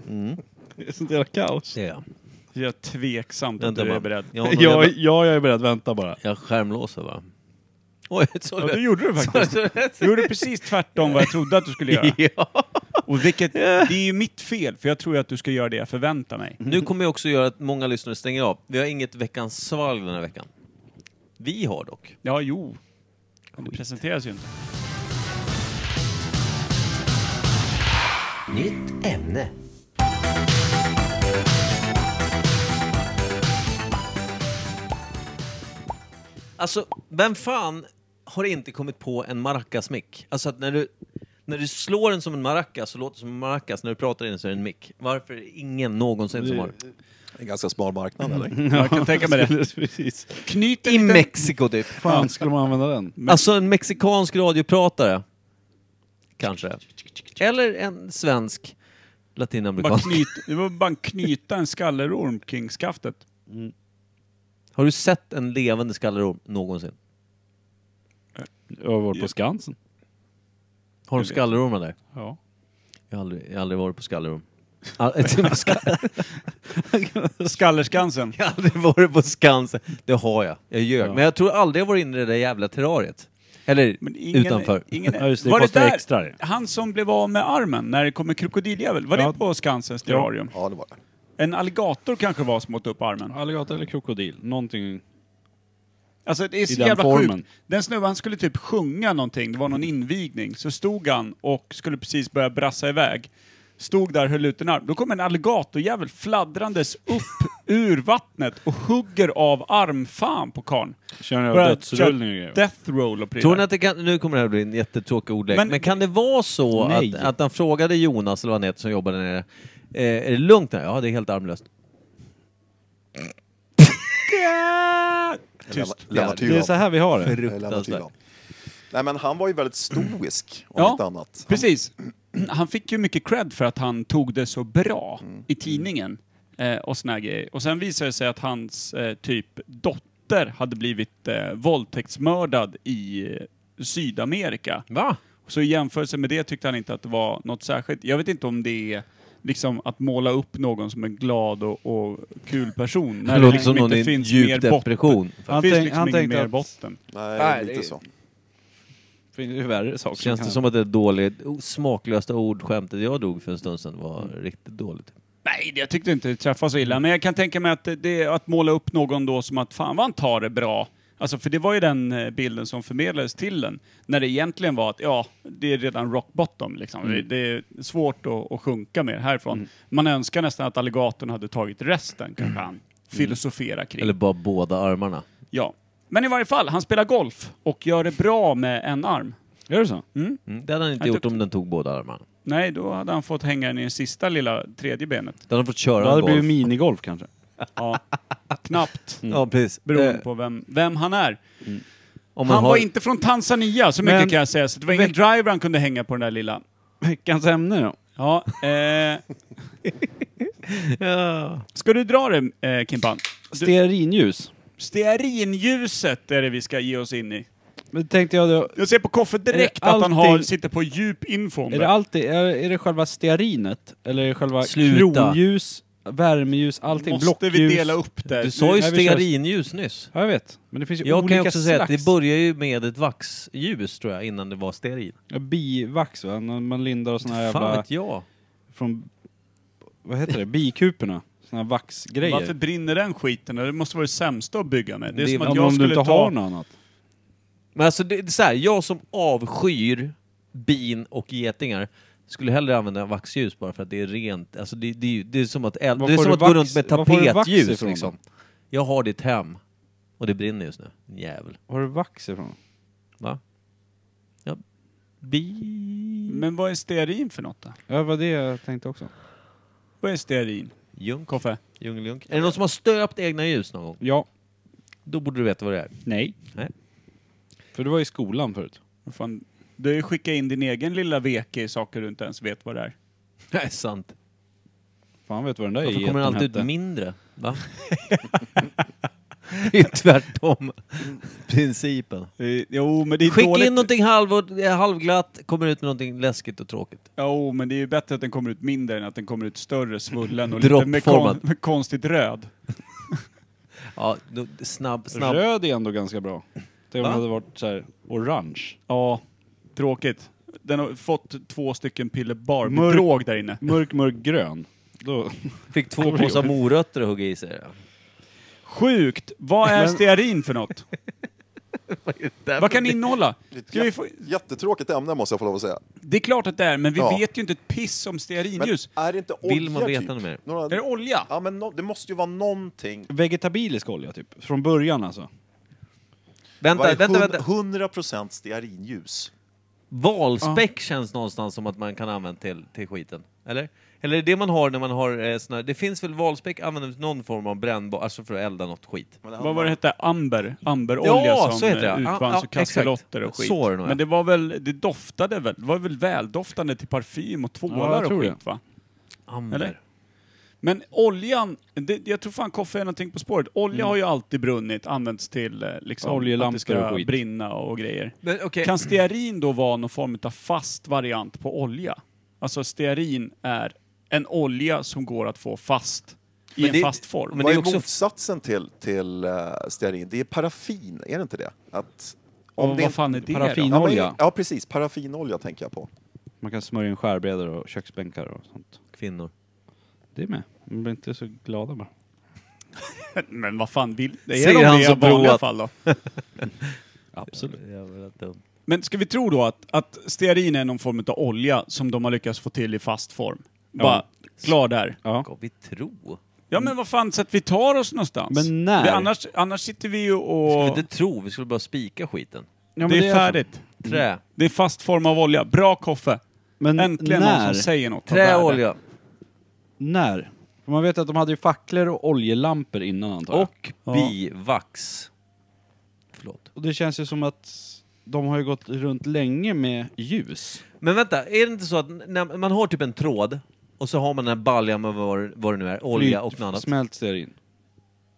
Speaker 2: Mm.
Speaker 5: Det är sånt jävla kaos.
Speaker 2: Det är jag.
Speaker 1: Jag är tveksamt att
Speaker 2: Vänta
Speaker 1: du är
Speaker 2: bara.
Speaker 1: beredd.
Speaker 2: Jag, har någon
Speaker 5: Ja,
Speaker 2: jävla-
Speaker 5: ja, jag är beredd. Vänta bara.
Speaker 2: jag skärmlåser va? Oj, så
Speaker 1: Ja, det gjorde du faktiskt. Du gjorde precis tvärtom vad jag trodde att du skulle göra.
Speaker 2: Ja.
Speaker 1: Och vilket, det är ju mitt fel, för jag tror ju att du ska göra det jag förväntar mig.
Speaker 2: Nu kommer jag också göra att många lyssnare stänger av. Vi har inget veckans svalg den här veckan. Vi har dock.
Speaker 1: Ja, jo. Men Det presenteras ju inte.
Speaker 8: Nytt ämne.
Speaker 2: Alltså, vem fan har inte kommit på en maracasmick? Alltså att när du, när du slår den som en maracas så låter det som en maracas, när du pratar i den så är det en mick. Varför är det ingen någonsin som har?
Speaker 9: En ganska smal marknad, eller?
Speaker 1: Jag kan tänka mig det.
Speaker 5: Precis.
Speaker 1: Knyt en
Speaker 2: I
Speaker 1: liten...
Speaker 2: Mexiko typ.
Speaker 5: Fan, skulle man använda den?
Speaker 2: Alltså en mexikansk radiopratare. Kanske. Eller en svensk
Speaker 1: Bara
Speaker 2: latinamerikansk.
Speaker 1: knyt, det var bara knyta en skallerorm kring skaftet.
Speaker 2: Har du sett en levande skallerorm någonsin?
Speaker 5: Jag har varit på Skansen.
Speaker 2: Har de skallerormar där?
Speaker 1: Ja.
Speaker 2: Jag har aldrig, jag har aldrig varit på skallerorm. All- Jag har
Speaker 1: Skallerskansen.
Speaker 2: aldrig varit på Skansen. Det har jag. Jag ljög. Men jag tror aldrig jag varit inne i det där jävla terrariet. Eller
Speaker 1: Men ingen,
Speaker 2: utanför.
Speaker 1: Ingen,
Speaker 5: Ja, just det,
Speaker 1: var det
Speaker 5: kostar
Speaker 1: där,
Speaker 5: extra det.
Speaker 1: han som blev av med armen när det kom en krokodiljävel, var
Speaker 5: Ja.
Speaker 1: det på Skansens terrarium?
Speaker 9: Ja, det var det.
Speaker 1: En alligator kanske var som åt upp armen.
Speaker 5: Alligator eller krokodil? Någonting.
Speaker 1: Alltså det är så
Speaker 5: den
Speaker 1: jävla
Speaker 5: formen.
Speaker 1: sjukt. Den snubben, han skulle typ sjunga någonting, det var någon invigning. Så stod han och skulle precis börja brassa iväg. Stod där, höll ut en arm. Då kom en alligatorjävel fladdrandes upp ur vattnet och hugger av armfan på karln.
Speaker 5: Kör en
Speaker 1: Börjar
Speaker 5: jävla dödsrullning
Speaker 1: köra
Speaker 5: och grejer.
Speaker 1: Death roll och
Speaker 2: Tror ni
Speaker 1: prylar.
Speaker 2: att det kan, nu kommer det här bli en jättetråkig ordlek, men,
Speaker 1: Men-
Speaker 2: kan det vara så att,
Speaker 5: Nej.
Speaker 2: att han frågade Jonas, eller vad han heter, som jobbade nere, eh, är det lugnt där? Ja, det är helt armlöst.
Speaker 1: Äh, Tyst.
Speaker 9: Lennart
Speaker 5: Det är
Speaker 9: Hyland.
Speaker 5: så här vi har det.
Speaker 9: Eh, Lennart Hyland. Nej men han var ju väldigt stoisk om
Speaker 1: Ja,
Speaker 9: inte annat. Han,
Speaker 1: Precis. Han fick ju mycket cred för att han tog det så bra i tidningen eh, och såna här grejer. Och sen visade det sig att hans eh, typ dotter hade blivit eh, våldtäktsmördad i eh, Sydamerika.
Speaker 2: Va?
Speaker 1: Så i jämförelse med det tyckte han inte att det var något särskilt. Jag vet inte om det är liksom att måla upp någon som en glad och, och kul person. När liksom
Speaker 2: Det låter som någon i en djup
Speaker 1: mer botten.
Speaker 2: depression.
Speaker 1: Det
Speaker 5: Han
Speaker 1: finns
Speaker 5: tänk-
Speaker 1: liksom
Speaker 5: han
Speaker 1: ingen
Speaker 5: tänkte
Speaker 1: mer
Speaker 5: att-
Speaker 1: botten.
Speaker 9: nej,
Speaker 2: Nej,
Speaker 9: lite
Speaker 2: det-
Speaker 9: så.
Speaker 5: Det finns ju värre saker.
Speaker 2: Känns det
Speaker 5: kan
Speaker 2: som att det är dåligt? o- Smaklösa ord, skämtet jag drog för en stund sedan var riktigt dåligt.
Speaker 1: Nej, det- jag tyckte inte det träffade så illa. Men jag kan tänka mig att, det- det, att måla upp någon då som att fan vad han tar det bra. Alltså, för det var ju den eh, bilden som förmedlades till den. När det egentligen var att, ja, det är redan rock bottom liksom.
Speaker 5: Mm.
Speaker 1: Det, det är svårt att, att sjunka mer härifrån. Man önskar nästan att alligatorn hade tagit resten,
Speaker 5: Mm.
Speaker 1: kanske han filosofera kring.
Speaker 2: Eller bara båda armarna.
Speaker 1: Ja. Men i varje fall, han spelar golf och gör det bra med en arm.
Speaker 5: Gör det så?
Speaker 2: Mm. Det hade han inte
Speaker 1: Han
Speaker 2: gjort
Speaker 1: tog-
Speaker 2: om den tog båda armarna.
Speaker 1: Nej, då hade han fått hänga den i det sista lilla tredje benet.
Speaker 2: Då hade han fått
Speaker 5: Då
Speaker 2: köra
Speaker 5: hade
Speaker 2: en
Speaker 5: det blivit
Speaker 2: golf.
Speaker 5: minigolf kanske.
Speaker 1: Ja. Knappt,
Speaker 2: Ja, precis.
Speaker 1: beroende
Speaker 2: Eh,
Speaker 1: på vem, vem han är.
Speaker 2: om man
Speaker 1: Han
Speaker 2: har...
Speaker 1: var inte från Tanzania, så mycket
Speaker 5: Men-
Speaker 1: kan jag säga. Så det var ingen driver han kunde hänga på den där lilla.
Speaker 5: Veckans ämne då?
Speaker 1: Ja, eh,
Speaker 2: Ja.
Speaker 1: ska du dra det, eh, Kimpan? Du,
Speaker 5: Stearinljus.
Speaker 1: stearinljuset är det vi ska ge oss in i.
Speaker 5: Men tänkte jag då,
Speaker 1: Jag ser på Koffe direkt
Speaker 5: Är det
Speaker 1: att han har,
Speaker 5: allting-
Speaker 1: sitter på djup info om
Speaker 5: är det
Speaker 1: det.
Speaker 5: alltid, är, är det själva stearinet? Eller är det själva
Speaker 2: Sluta.
Speaker 5: kronljus, värmeljus, allting?
Speaker 1: Måste
Speaker 5: blockljus?
Speaker 1: vi dela upp det?
Speaker 2: Du sa ju
Speaker 5: Nej, vi kör-
Speaker 2: stearinljus nyss.
Speaker 5: Ja, jag vet. Men det finns ju
Speaker 2: Jag
Speaker 5: olika
Speaker 2: kan ju också säga att
Speaker 5: slags.
Speaker 2: det börjar ju med ett vaxljus tror jag, innan det var stearin.
Speaker 5: Ja, bivax va? När man lindar och såna här
Speaker 2: Fan
Speaker 5: jävla...
Speaker 2: vet jag.
Speaker 5: Från... Vad heter det? Bikuporna? Såna här
Speaker 1: Varför
Speaker 5: vaxgrejer.
Speaker 1: brinner den skiten? Det måste vara det sämsta att bygga med. Det är
Speaker 5: Det
Speaker 1: som
Speaker 5: är väl
Speaker 1: att
Speaker 5: om
Speaker 1: jag
Speaker 5: du
Speaker 1: skulle
Speaker 5: inte
Speaker 1: ta...
Speaker 5: har något annat.
Speaker 2: Men alltså det, det är så här, jag som avskyr bin och getingar skulle hellre använda vaxljus bara för att det är rent. Alltså det, det, är ju- det är som att, eld,
Speaker 5: Var
Speaker 2: det är
Speaker 5: får
Speaker 2: som
Speaker 5: du
Speaker 2: att gå
Speaker 5: vax-
Speaker 2: runt med
Speaker 5: var får du vax
Speaker 2: tapetljus
Speaker 5: ifrån
Speaker 2: liksom.
Speaker 5: då?
Speaker 2: Jag har ditt hem och det brinner just nu. Din Jävel.
Speaker 5: Var har du vax ifrån?
Speaker 2: Va? Ja. Bi...
Speaker 1: Men vad är stearin för något då?
Speaker 5: Ja, det var det jag tänkte också.
Speaker 1: Vad är stearin?
Speaker 2: Junk.
Speaker 1: Koffe?
Speaker 2: Djungeljunk. Är det någon som har stöpt egna ljus någon gång?
Speaker 5: Ja.
Speaker 2: Då borde du veta vad det är.
Speaker 5: Nej.
Speaker 2: Nej.
Speaker 5: För du var i skolan förut.
Speaker 1: Vad fan? Du har ju skickat in din egen lilla veke i saker du inte ens vet vad det är.
Speaker 2: Nej, sant.
Speaker 5: Fan vet vad den där
Speaker 2: Varför kommer det
Speaker 5: geten
Speaker 2: alltid ut
Speaker 5: hette.
Speaker 2: mindre? Va? det är ju tvärtom principen.
Speaker 1: Eh, Jo, men det är
Speaker 2: Skicka
Speaker 1: dåligt.
Speaker 2: in någonting halv och, eh, halvglatt, kommer ut med någonting läskigt och tråkigt.
Speaker 1: Jo, men det är ju bättre att den kommer ut mindre än att den kommer ut större, svullen och lite med, kon-
Speaker 2: Droppformat.
Speaker 1: med konstigt röd.
Speaker 2: Ja, då- snabb, snabb.
Speaker 5: Röd är ändå ganska bra. Tänk om
Speaker 2: Va?
Speaker 5: det hade varit så här orange.
Speaker 1: Ja, tråkigt. Den har fått två stycken piller
Speaker 5: Mörk-
Speaker 1: Barbie-drog där inne.
Speaker 5: Mörk, mörk grön. Då...
Speaker 2: Fick två påsar morötter att hugga i sig. ja.
Speaker 1: Sjukt! Vad är
Speaker 5: Men-
Speaker 1: stearin för något? Vad kan det innehålla? Ska vi få...
Speaker 9: Jättetråkigt ämne måste jag få lov att säga.
Speaker 1: Det är klart att det är, men vi
Speaker 9: Ja.
Speaker 1: vet ju inte ett piss om
Speaker 9: Men
Speaker 1: stearinljus.
Speaker 9: är det inte olja
Speaker 2: Vill man veta
Speaker 9: typ?
Speaker 2: något mer?
Speaker 9: Några...
Speaker 1: Är det olja?
Speaker 9: Ja men no... det måste ju vara någonting.
Speaker 5: Vegetabilisk olja typ. Från början alltså.
Speaker 2: Vänta,
Speaker 9: Vad är
Speaker 2: vänta,
Speaker 9: hun-
Speaker 2: vänta.
Speaker 9: 100% stearinljus.
Speaker 2: Valspäck känns någonstans som att man kan använda till, till skiten. Eller? Eller är det det man har när man har eh, såna här, Det finns väl valspäck använder någon form av brännbar, alltså för att elda något skit.
Speaker 9: Men
Speaker 1: Vad var det
Speaker 9: handlar-
Speaker 1: hette? Amber? Amberolja
Speaker 2: Ja,
Speaker 1: som
Speaker 2: så heter det.
Speaker 1: eh,
Speaker 2: Ja,
Speaker 1: utvanns
Speaker 2: ja,
Speaker 1: och kasselotter och
Speaker 2: exakt.
Speaker 1: skit.
Speaker 2: Så är det nog, ja.
Speaker 1: men det var väl, det doftade väl, det var väl väldoftande till parfym och
Speaker 5: Ja,
Speaker 1: tvålar
Speaker 5: jag
Speaker 1: och
Speaker 5: tror
Speaker 1: skit
Speaker 5: det.
Speaker 1: va?
Speaker 2: Amber.
Speaker 1: Eller? Men oljan, det, jag tror fan Koffe är någonting på spåret. Olja
Speaker 2: Mm.
Speaker 1: har ju alltid brunnit, använts till eh, liksom, att
Speaker 5: Oljelampor
Speaker 1: det ska
Speaker 5: och skit.
Speaker 1: brinna och grejer.
Speaker 2: Men okej.
Speaker 1: Kan stearin då vara någon form av fast variant på olja? Alltså stearin är en olja som går att få fast i
Speaker 2: Men
Speaker 1: en
Speaker 2: det-
Speaker 1: fast form.
Speaker 2: men
Speaker 9: Vad
Speaker 2: det
Speaker 9: är
Speaker 2: är också-
Speaker 9: motsatsen till, till eh, stearin? Det är paraffin, är det inte det? Att
Speaker 1: och
Speaker 9: det
Speaker 1: vad fan är det
Speaker 5: paraffin-
Speaker 1: då?
Speaker 9: Ja, men,
Speaker 5: Olja.
Speaker 9: ja precis, paraffinolja tänker jag på.
Speaker 5: Man kan smörja in skärbrädor och köksbänkar och sånt.
Speaker 2: Kvinnor.
Speaker 5: Det är med. Man blir inte så glada bara.
Speaker 1: Men vad fan vill... Det
Speaker 2: Ser
Speaker 1: är nog
Speaker 2: han
Speaker 1: det i
Speaker 2: som
Speaker 1: vanliga
Speaker 2: broat.
Speaker 1: fall då.
Speaker 5: Absolut.
Speaker 2: Jävla dumt.
Speaker 1: Men ska vi tro då att, att stearin är någon form av olja som de har lyckats få till i fast form? Bara, klar där.
Speaker 5: Ja.
Speaker 2: Ska vi tro?
Speaker 1: Ja men vad fan, så att vi tar oss någonstans.
Speaker 5: Men när?
Speaker 1: Vi, annars, annars sitter vi ju
Speaker 2: Ska vi
Speaker 1: och...
Speaker 2: inte tro? Vi skulle bara spika skiten.
Speaker 5: Ja, men
Speaker 1: det, är
Speaker 5: så.
Speaker 1: färdigt.
Speaker 2: Trä.
Speaker 5: Mm.
Speaker 1: Det är fast form av olja. Bra Koffe.
Speaker 5: Men
Speaker 1: Äntligen någon
Speaker 5: när?
Speaker 1: som säger något. av
Speaker 2: Trä
Speaker 1: värde.
Speaker 2: och olja.
Speaker 5: När? För man vet att de hade ju facklor och oljelampor innan antar jag.
Speaker 2: Och bivax. Förlåt.
Speaker 5: och det känns ju som att de har ju gått runt länge med ljus.
Speaker 2: Men vänta, är det inte så att när man har typ en tråd och så har man den här baljan med vad, vad det nu är, olja
Speaker 5: Flyt-
Speaker 2: och något annat.
Speaker 5: Smält stearin.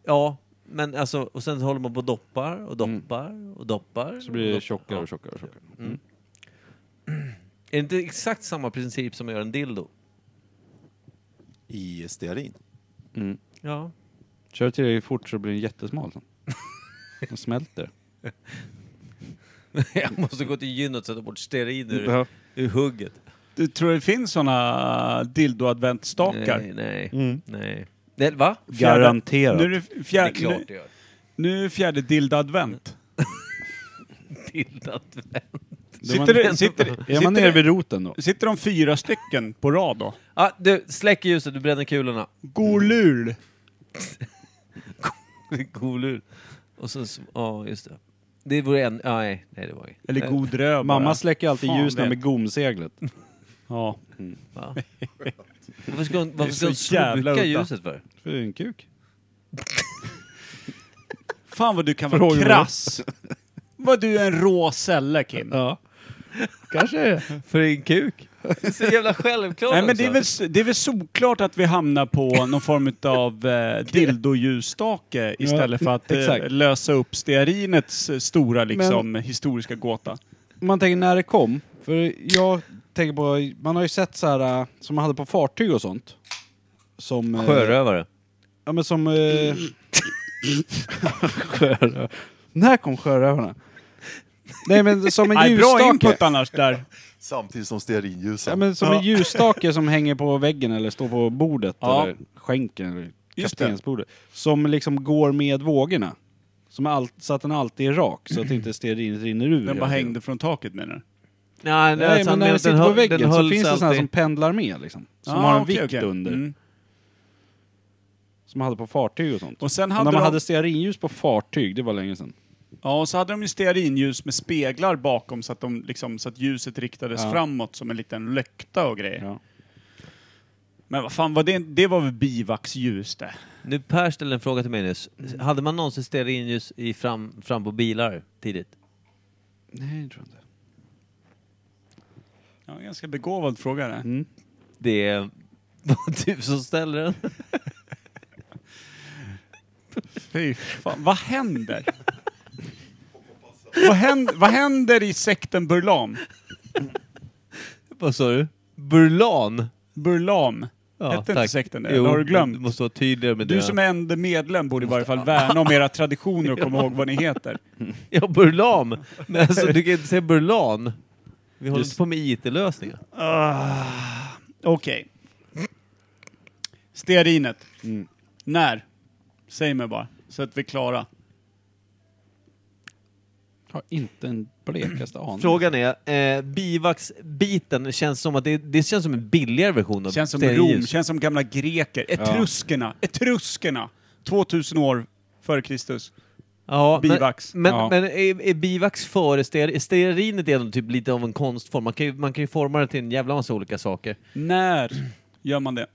Speaker 2: Ja, men alltså, och sen håller man på och doppar och doppar och doppar.
Speaker 5: Mm. Så blir
Speaker 2: och
Speaker 5: det
Speaker 2: doppar.
Speaker 5: tjockare
Speaker 2: Ja.
Speaker 5: och tjockare och tjockare.
Speaker 2: Är det inte exakt samma princip som att göra en dildo?
Speaker 9: I stearin.
Speaker 2: Ja.
Speaker 5: Kör tillräckligt fort så blir den jättesmal sen. Den smälter.
Speaker 2: Jag måste gå till gynnet och sätta bort stearin ur, ur hugget.
Speaker 1: Du tror det finns såna dildo-adventstakar?
Speaker 2: Nej, nej,
Speaker 5: Mm.
Speaker 2: nej. Det, va?
Speaker 1: Fjärde-
Speaker 5: Garanterat.
Speaker 1: Nu är det,
Speaker 2: Det
Speaker 1: fjär,
Speaker 2: är klart det
Speaker 1: nu,
Speaker 2: gör.
Speaker 1: nu är det fjärde dildo-advent.
Speaker 2: Dildat
Speaker 1: Sitter, det, sitter,
Speaker 5: Är man
Speaker 1: sitter,
Speaker 5: nere
Speaker 1: det-
Speaker 5: vid roten då?
Speaker 1: sitter de fyra stycken på rad då? Mm.
Speaker 2: ah, Du, släck ljuset, du bränner kulorna.
Speaker 1: Golul!
Speaker 2: Golur. Och så, så- ja just det. Det vore en, ah, nej, nej det var inget.
Speaker 1: Eller god röv bara.
Speaker 5: Mamma släcker alltid
Speaker 1: Fan
Speaker 5: ljusen
Speaker 1: vet.
Speaker 5: med gomseglet.
Speaker 1: Ja.
Speaker 5: Mm.
Speaker 2: Va? Varför ska hon, varför
Speaker 1: är
Speaker 2: ska hon
Speaker 1: så jävla
Speaker 2: sluka
Speaker 1: udda.
Speaker 2: ljuset för?
Speaker 5: För det är en kuk.
Speaker 1: Fan vad du kan vara
Speaker 5: Frågar du?
Speaker 1: krass! Vad du är en rå sälle, Kim.
Speaker 5: Ja. Kanske
Speaker 2: För en kuk? Det är så jävla självklart
Speaker 1: Nej men
Speaker 2: också.
Speaker 1: det är, väl, det är väl solklart att vi hamnar på någon form av eh, dildoljusstake istället för att eh,
Speaker 5: exakt.
Speaker 1: lösa upp stearinets eh, stora liksom, historiska gåta.
Speaker 5: Man tänker när det kom. För jag tänker på, man har ju sett så här äh, som man hade på fartyg och sånt. Som... eh,
Speaker 2: Sjörövare.
Speaker 5: Ja men som... Eh... Sjöröv- När kom sjörövarna? Nej men som en
Speaker 1: Nej, bra input
Speaker 5: ljusstake.
Speaker 1: annars där.
Speaker 9: Samtidigt som stearinljusen.
Speaker 5: Ja, men som en ljusstake som hänger på väggen eller står på bordet
Speaker 1: Ja.
Speaker 5: eller skänken eller
Speaker 1: Just det.
Speaker 5: kaptensbordet. Som liksom går med vågorna. Som allt, så att den alltid är rak så att inte stearinet rinner ur.
Speaker 1: Den bara
Speaker 5: hela tiden.
Speaker 1: hängde från taket menar du?
Speaker 2: Nej,
Speaker 5: Nej, men när den sitter på väggen så finns det
Speaker 2: alltid.
Speaker 5: sådana här som pendlar med liksom. Som
Speaker 1: Ah,
Speaker 5: har en
Speaker 1: okej,
Speaker 5: vikt
Speaker 1: okej.
Speaker 5: under.
Speaker 1: Mm.
Speaker 5: Som hade på fartyg och sånt.
Speaker 1: Och sen
Speaker 5: Men
Speaker 1: hade
Speaker 5: när man
Speaker 1: de,
Speaker 5: hade stearinljus på fartyg, det var länge sedan.
Speaker 1: ja, och så hade de ju stearinljus med speglar bakom så att, de, liksom, så att ljuset riktades
Speaker 5: Ja.
Speaker 1: framåt som en liten lökta och grejer.
Speaker 5: Ja.
Speaker 1: Men vad fan var det? Det var väl bivaxljus det?
Speaker 2: Nu Per ställde en fråga till mig nyss. Hade man någonsin stearinljus i fram, fram på bilar tidigt?
Speaker 5: Nej, jag tror inte.
Speaker 1: Ja, en ganska begåvad fråga det.
Speaker 2: Det är- var du som ställer den.
Speaker 1: Fy fan, vad händer? vad, händer vad händer i sekten Burlam?
Speaker 2: Vad sa du? Burlan?
Speaker 1: Burlam? Hette inte sekten det? Eller har du glömt?
Speaker 2: Du måste vara tydligare med det.
Speaker 1: Du som är enda medlem borde i varje fall värna om era traditioner och komma ihåg vad ni heter.
Speaker 2: Ja, Burlam! Men alltså, du kan inte säga Burlan. Vi håller inte på med IT-lösningar.
Speaker 1: Okej. Stearinet.
Speaker 2: Mm.
Speaker 1: När? Säg mig bara, så att vi är klara.
Speaker 5: Har inte en blekaste aning.
Speaker 2: Frågan är, eh, bivaxbiten känns som att det, det känns som en billigare version av
Speaker 1: Känns som
Speaker 2: stearinljus.
Speaker 1: Rom, känns som gamla greker. Etruskerna, etruskerna! 2000 år före Kristus.
Speaker 2: Ja,
Speaker 1: Bivax.
Speaker 2: Men, men,
Speaker 5: Ja.
Speaker 2: men är, är bivax före stearin? Stearinet är ändå typ lite av en konstform. Man kan, ju, man kan ju forma det till en jävla massa olika saker.
Speaker 1: När gör man det?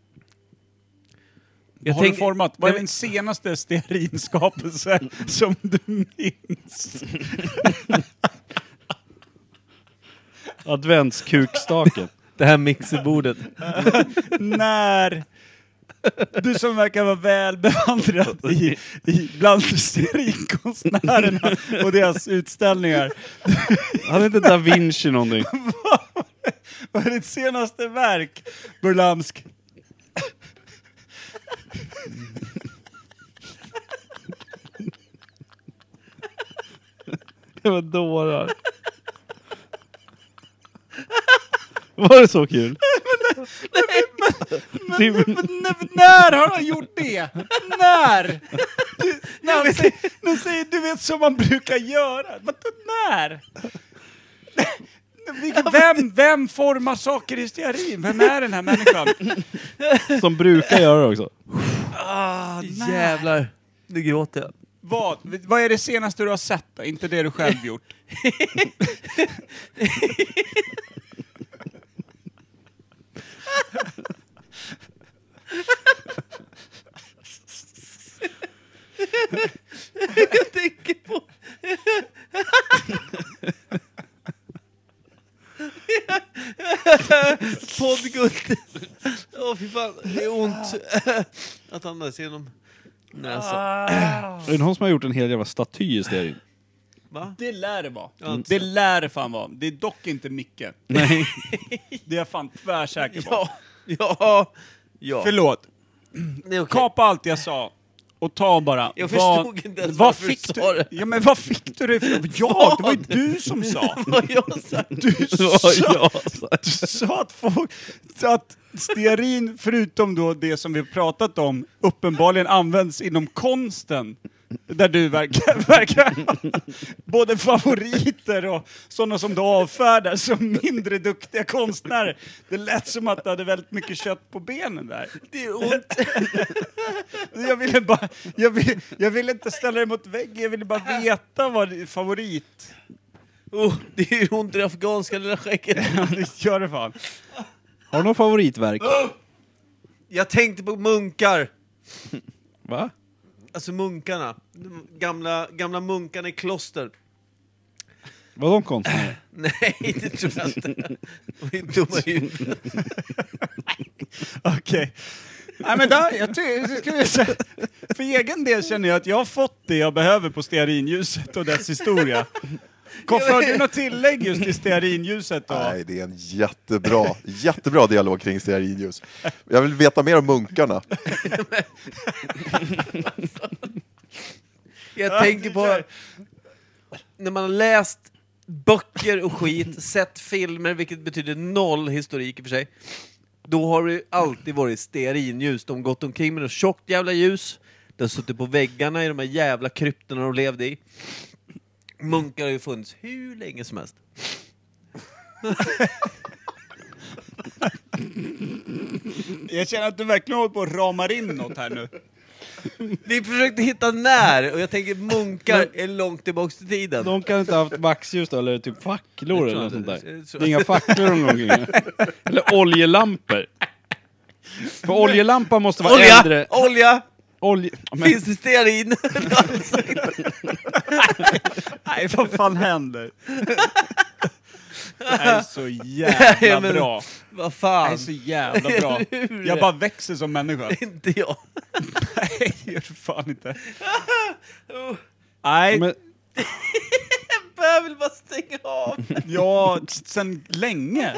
Speaker 2: Jag
Speaker 1: har
Speaker 2: tänk-
Speaker 1: du format? Vad är
Speaker 2: Nej, men-
Speaker 1: den senaste stearinskapelse som du minns?
Speaker 5: Adventskukstaken.
Speaker 2: Det här mixerbordet.
Speaker 1: När? Du som verkar vara väl bevandrad i, i bland stearinkonstnärerna och deras utställningar.
Speaker 5: Hade inte da Vinci någonting?
Speaker 1: Vad är ditt senaste verk, Burlamsk?
Speaker 5: Det var dårar. Var det så kul? Nej, men,
Speaker 1: Nej, men när har han gjort det? När? Du, när han säger, när han säger du vet som man brukar göra. Vadå när? Vilken- Vem, vem formar saker i stearin? Vem är den här människan?
Speaker 5: som brukar göra det också.
Speaker 2: Ah, jävlar. Nu gråter jag.
Speaker 1: Vad, vad är det senaste du har sett då? Inte det du själv gjort.
Speaker 2: Poddguld! Åh fy fan, det är ont att andas genom
Speaker 1: Ah.
Speaker 2: näsan.
Speaker 5: Är det någon som har gjort en hel jävla staty i stearin?
Speaker 2: Va?
Speaker 1: Det lär det vara.
Speaker 2: Mm.
Speaker 1: Det lär det fan vara. Det är dock inte mycket.
Speaker 5: Nej.
Speaker 1: Det är jag fan tvärsäker på.
Speaker 2: Ja, ja, ja.
Speaker 1: Förlåt.
Speaker 2: Det är okej.
Speaker 1: Kapa allt jag sa. Och ta bara.
Speaker 2: Jag förstod inte ens
Speaker 1: vad
Speaker 2: varför du
Speaker 1: fick
Speaker 2: sa det.
Speaker 1: Ja men vad fick du det ifrån? Ja, det var ju du som sa!
Speaker 2: Vad jag sa.
Speaker 1: Du sa, du sa att, folk, att stearin, förutom då det som vi pratat om, uppenbarligen används inom konsten. Där du verkar, verkar ha både favoriter och sådana som du avfärdar som mindre duktiga konstnärer. Det lät som att du hade väldigt mycket kött på benen där. Det är ont. Jag ville, bara, jag, ville, jag ville inte ställa dig mot väggen, jag ville bara veta vad din favorit
Speaker 2: Oh, det är ont i det afghanska lilla skägget.
Speaker 1: Ja, det gör det fan.
Speaker 5: Har du något favoritverk?
Speaker 2: Jag tänkte på munkar.
Speaker 5: Va?
Speaker 2: Alltså munkarna. De gamla, gamla munkarna i kloster.
Speaker 5: Var de konstnärer?
Speaker 2: Nej, det tror jag inte. De är dumma i huvudet.
Speaker 1: Okej. Nej men där, jag ty- så ska vi säga, för egen del känner jag att jag har fått det jag behöver på stearinljuset och dess historia. Koffe, har du något tillägg just till stearinljuset då?
Speaker 9: Nej, det är en jättebra, jättebra dialog kring stearinljus. Jag vill veta mer om munkarna.
Speaker 2: Jag tänker på när man har läst böcker och skit, sett filmer, vilket betyder noll historik i och för sig. Då har det ju alltid varit stearinljus. De har gått omkring med något tjockt jävla ljus. Det har suttit på väggarna i de här jävla kryptorna de levde i. Munkar har ju funnits hur länge som helst.
Speaker 1: Jag känner att du verkligen håller på att ramar in något här nu.
Speaker 2: Vi försökte hitta när, och jag tänker munkar är långt tillbaks till tiden.
Speaker 5: De kan inte ha haft vaxljus då, eller typ
Speaker 2: Jag tror
Speaker 5: facklor eller något
Speaker 2: inte det.
Speaker 5: sånt där.
Speaker 2: Jag
Speaker 5: Det
Speaker 2: tror-
Speaker 5: är inga facklor de går omkring med. Eller oljelampor. För oljelampan måste vara
Speaker 2: Olja!
Speaker 5: äldre.
Speaker 2: Olja!
Speaker 5: Olje... Men,
Speaker 2: Finns det stearin?
Speaker 1: Nej, vad fan händer? Det här är så jävla
Speaker 2: Ja, men-
Speaker 1: bra.
Speaker 2: Vad
Speaker 1: Det
Speaker 2: fan?
Speaker 1: här är så jävla bra.
Speaker 2: Hur?
Speaker 1: Jag bara växer som människa.
Speaker 2: Inte jag.
Speaker 1: Nej, det gör du fan inte. Nej,
Speaker 5: men,
Speaker 2: Jag vill bara stänga av.
Speaker 1: Ja, s- sen länge.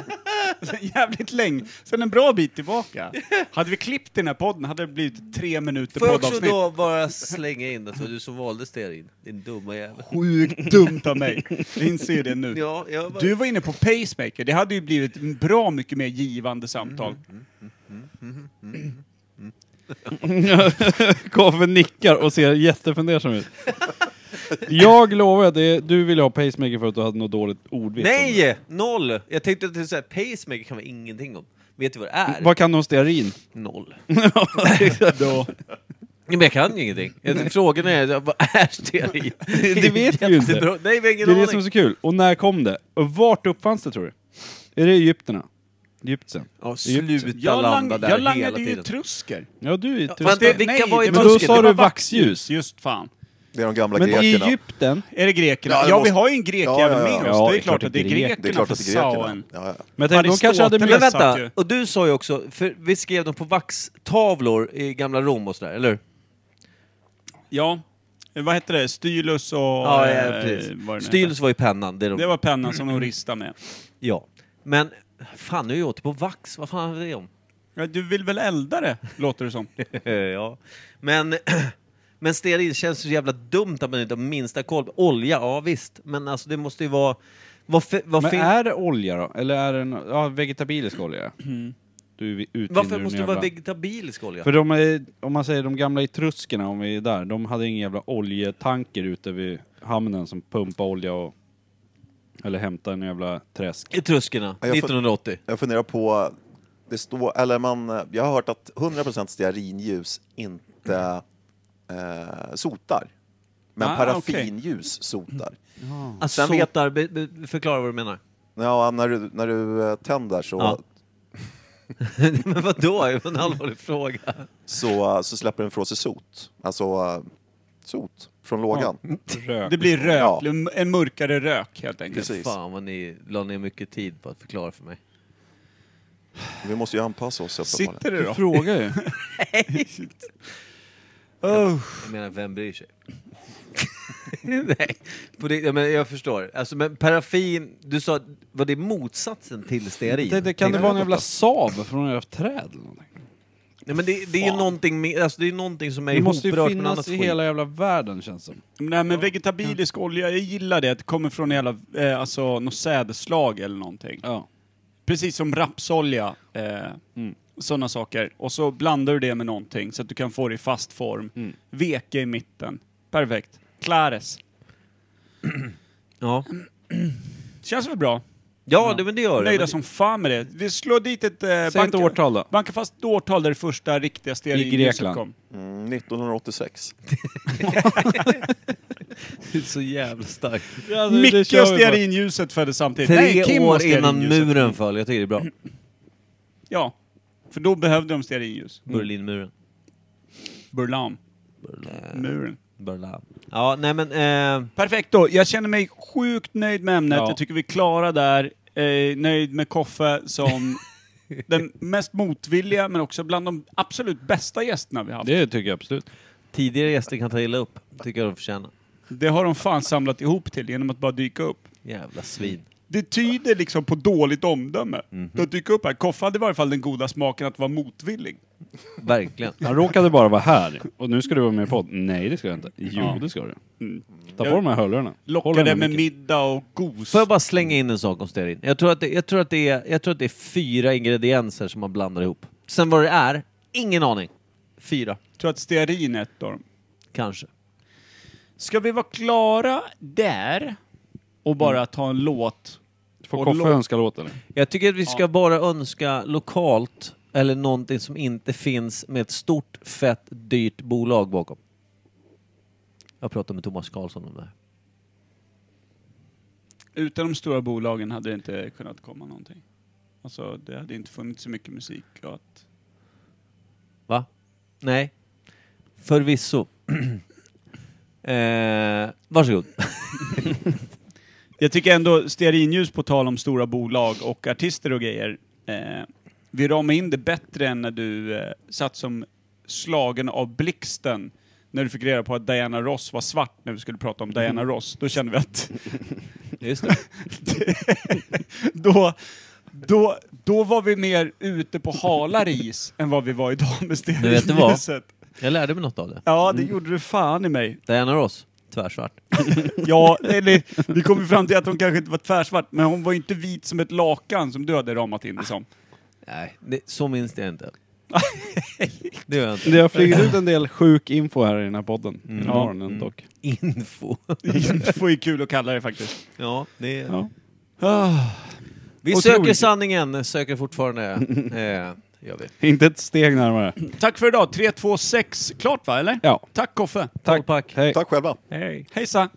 Speaker 1: Sen jävligt länge. Sen en bra bit tillbaka. Hade vi klippt den här podden hade det blivit tre minuter
Speaker 2: Får jag också
Speaker 1: poddavsnitt.
Speaker 2: då bara slänga in att det var du som valde stearin, din dumma jävel.
Speaker 1: Sjukt dumt av mig. Jag inser ju det nu.
Speaker 2: Ja, jag bara...
Speaker 1: Du var inne på pacemaker. Det hade ju blivit en bra mycket mer givande samtal.
Speaker 2: Mm.
Speaker 5: Koffe nickar och ser jättefundersam ut. Jag lovar att det är, du ville ha pacemaker för att du hade något dåligt ordvits. om det.
Speaker 2: Nej! Noll! Jag tänkte att det är så här, pacemaker kan vi ingenting om. Vet du vad det är?
Speaker 5: Vad kan du om stearin?
Speaker 2: Noll.
Speaker 1: Då.
Speaker 2: Ja, men jag kan ju ingenting. Jag, frågan är, vad är stearin?
Speaker 5: Det vet vi ju inte.
Speaker 2: Jättebra. Nej, vi har ingen
Speaker 5: Det är det som är
Speaker 2: aning.
Speaker 5: så kul. Och när kom det? Och vart uppfanns det tror du? Är det Egypterna? Egyptien?
Speaker 2: Ja,
Speaker 5: Egypten.
Speaker 2: sluta
Speaker 1: Jag,
Speaker 2: landa
Speaker 1: lang- jag
Speaker 2: där hela
Speaker 1: langade ju
Speaker 2: tiden.
Speaker 1: trusker.
Speaker 5: Ja, du är
Speaker 2: Ja, vänta,
Speaker 5: tysk.
Speaker 2: vilka var i
Speaker 1: det
Speaker 5: Men då
Speaker 2: trusket?
Speaker 5: sa
Speaker 1: det
Speaker 5: du
Speaker 1: var
Speaker 5: vaxljus.
Speaker 1: Just fan.
Speaker 9: Det är de gamla
Speaker 5: Men i
Speaker 9: grekerna.
Speaker 5: Egypten,
Speaker 1: Är det grekerna?
Speaker 9: Ja,
Speaker 1: Ja,
Speaker 9: det
Speaker 1: vi
Speaker 9: måste-
Speaker 1: har ju en grek
Speaker 9: Ja,
Speaker 1: jävel
Speaker 9: ja, ja.
Speaker 1: med oss.
Speaker 5: Ja,
Speaker 1: det är klart att det är grekerna
Speaker 9: Det är klart
Speaker 1: för
Speaker 9: att det är grekerna.
Speaker 1: sauen.
Speaker 9: Ja, ja.
Speaker 5: men jag tänkte, de kanske hade
Speaker 1: Aristoteles.
Speaker 5: mer...
Speaker 2: Men
Speaker 1: Jag satt
Speaker 2: vänta,
Speaker 1: ju.
Speaker 2: och du sa ju också, för vi skrev dem på vaxtavlor i gamla Rom och sådär, eller hur?
Speaker 1: Ja. Eh, Vad hette det? Stylus och...
Speaker 2: Ja, ja,
Speaker 1: eh,
Speaker 2: precis.
Speaker 1: vad det nu
Speaker 2: Stylus var ju pennan. Det är de,
Speaker 1: Det var pennan som de ristade med.
Speaker 2: Ja. Men, fan nu är jag åter på vax, vad fan är det om?
Speaker 1: Ja, du vill väl elda det, låter det som.
Speaker 2: ja. Men, men stearin känns så jävla dumt att man inte har minsta koll. på. Olja, ja visst. Men alltså det måste ju vara... Vad, fi- vad
Speaker 5: Men
Speaker 2: fin-
Speaker 5: är det olja då? Eller är det no- ja, vegetabilisk olja? Du vi- utvinner
Speaker 2: varför
Speaker 5: en
Speaker 2: måste det
Speaker 5: jävla-
Speaker 2: vara vegetabilisk olja?
Speaker 5: För de är, om man säger de gamla etruskerna, om vi är där, de hade ingen jävla oljetanker ute vid hamnen som pumpade olja och... Eller hämtade en jävla träsk.
Speaker 2: Etruskerna,
Speaker 9: Ja, jag får-
Speaker 2: 1980.
Speaker 9: Jag funderar på, det står, eller man, jag har hört att 100% stearinljus inte eh, sotar. Men
Speaker 1: Ah,
Speaker 9: paraffinljus sotar.
Speaker 2: Alltså,
Speaker 9: Sen vet-
Speaker 2: sotar, be, be, förklara vad du menar.
Speaker 9: Ja, när du, när du eh, tänder så,
Speaker 2: Ja. men vadå? Det var en allvarlig fråga.
Speaker 9: så, så släpper den ifrån sig sot. Alltså eh, sot från lågan.
Speaker 5: Rök.
Speaker 1: Det blir rök,
Speaker 9: Ja.
Speaker 1: en mörkare rök helt enkelt.
Speaker 9: Precis.
Speaker 2: Fan vad ni la ner mycket tid på att förklara för mig.
Speaker 9: Vi måste ju anpassa oss uppenbarligen.
Speaker 1: Sitter det
Speaker 5: Du
Speaker 1: då?
Speaker 5: frågar ju.
Speaker 2: Jag menar, vem bryr sig? Nej, på det, ja, men jag förstår. Alltså, men paraffin, du sa, var det motsatsen till stearin?
Speaker 5: Det, det kan det
Speaker 2: Tänkte
Speaker 5: vara en
Speaker 2: jag
Speaker 5: jävla
Speaker 2: på.
Speaker 5: Saab från några träd eller någonting?
Speaker 2: Nej, men det, det är ju någonting, med, alltså, det är någonting som är
Speaker 5: Det måste ju
Speaker 2: ihopberört med annat Eh,
Speaker 5: finnas i hela jävla världen känns som.
Speaker 1: Nej men vegetabilisk olja, jag gillar det. Det kommer från en jävla, eh, alltså något sädesslag eller någonting.
Speaker 5: Ja.
Speaker 1: Precis som rapsolja. Eh,
Speaker 2: Mm.
Speaker 1: Sådana saker. Och så blandar du det med någonting så att du kan få det i fast form.
Speaker 2: Mm.
Speaker 1: Veke i mitten. Perfekt. Clares.
Speaker 2: Ja,
Speaker 1: Känns väl bra?
Speaker 2: ja det, men det gör det.
Speaker 1: Nöjda
Speaker 2: Men-
Speaker 1: som fan med det. Vi slår dit ett... Eh,
Speaker 5: Säg ett årtal då.
Speaker 1: Banka fast ett årtal där det första riktiga stearinljuset
Speaker 5: Grekland.
Speaker 1: kom.
Speaker 9: Mm, 1986.
Speaker 2: Det är så jävla starkt.
Speaker 1: Micke och stearinljuset föddes samtidigt.
Speaker 2: Tre
Speaker 1: Nej, Kim och
Speaker 2: år innan
Speaker 1: stearinljuset.
Speaker 2: muren föll, jag tycker det är bra.
Speaker 1: Ja. För då behövde de stearinljus.
Speaker 2: Mm. Berlinmuren.
Speaker 1: Burlam. Muren.
Speaker 2: Berlin. Ja, nej men... Eh,
Speaker 1: Perfekt då. Jag känner mig sjukt nöjd med ämnet.
Speaker 5: Ja.
Speaker 1: Jag tycker vi är klara där. Eh, nöjd med Koffe som den mest motvilliga, men också bland de absolut bästa gästerna vi haft. Det,
Speaker 5: Det tycker jag absolut.
Speaker 2: tidigare gäster kan ta illa upp, tycker jag de förtjänar.
Speaker 1: har de fan samlat ihop till genom att bara dyka upp.
Speaker 2: Jävla svin.
Speaker 1: Det tyder liksom på dåligt omdöme. Att dyka upp här. Koffe hade i varje fall den goda smaken att vara motvillig.
Speaker 2: Verkligen.
Speaker 5: Han råkade bara vara här. Och nu ska du vara med i podd. Nej det ska jag inte. Jo det ska du. Ta på de här hörlurarna. Håll
Speaker 1: Lockade
Speaker 5: henne,
Speaker 1: med
Speaker 5: Micke.
Speaker 1: middag och gos.
Speaker 2: Får jag bara slänga in en sak om stearin? Jag tror, att det, jag, tror att det är, jag tror att det är fyra ingredienser som man blandar ihop. Sen vad det är, ingen aning. Fyra,
Speaker 1: tror att stearin är ett av dem.
Speaker 2: kanske.
Speaker 1: Ska vi vara klara där och bara ta en låt?
Speaker 5: Får
Speaker 1: Och
Speaker 5: Koffe
Speaker 1: låt-
Speaker 5: önska låt eller?
Speaker 2: Jag tycker att vi ska bara önska lokalt eller någonting som inte finns med ett stort, fett, dyrt bolag bakom. Jag pratade med Thomas Karlsson om det här.
Speaker 1: Utan de stora bolagen hade det inte kunnat komma någonting. Alltså, det hade inte funnits så mycket musik och att...
Speaker 2: Va? Nej. Förvisso. eh, varsågod.
Speaker 1: Jag tycker ändå, stearinljus på tal om stora bolag och artister och grejer. Eh, vi ramar in det bättre än när du eh, satt som slagen av blixten när du fick reda på att Diana Ross var svart när vi skulle prata om
Speaker 2: Mm.
Speaker 1: Diana Ross. Då kände vi att
Speaker 2: Just det.
Speaker 1: då, då, då var vi mer ute på halare is än vad vi var idag med
Speaker 2: vet Mm. du vad?
Speaker 1: stearinljuset.
Speaker 2: Jag lärde mig något av det.
Speaker 1: Ja, det gjorde du fan i mig.
Speaker 2: Diana Ross, tvärsvart.
Speaker 1: Ja, eller vi kom ju fram till att hon kanske inte var tvärsvart, men hon var ju inte vit som ett lakan som du hade ramat in det som.
Speaker 2: Nej, det, så minns jag inte. det gör jag inte.
Speaker 5: Det har flugit ut en del sjuk info här i den här podden. Mm.
Speaker 1: Ja.
Speaker 5: Morgonen, dock.
Speaker 2: Info.
Speaker 1: Det får ju kul att kalla det faktiskt.
Speaker 2: ja, det är...
Speaker 5: Ja.
Speaker 2: Vi
Speaker 5: Otroligt.
Speaker 2: söker sanningen, söker fortfarande. eh, gör vi.
Speaker 5: Inte ett steg närmare.
Speaker 1: Tack för idag. 3, 2, 6. Klart va, eller?
Speaker 5: Ja.
Speaker 1: Tack Koffe.
Speaker 5: Tack.
Speaker 2: Pack.
Speaker 5: Hej.
Speaker 9: Tack själva.
Speaker 1: Hej. Hejsa.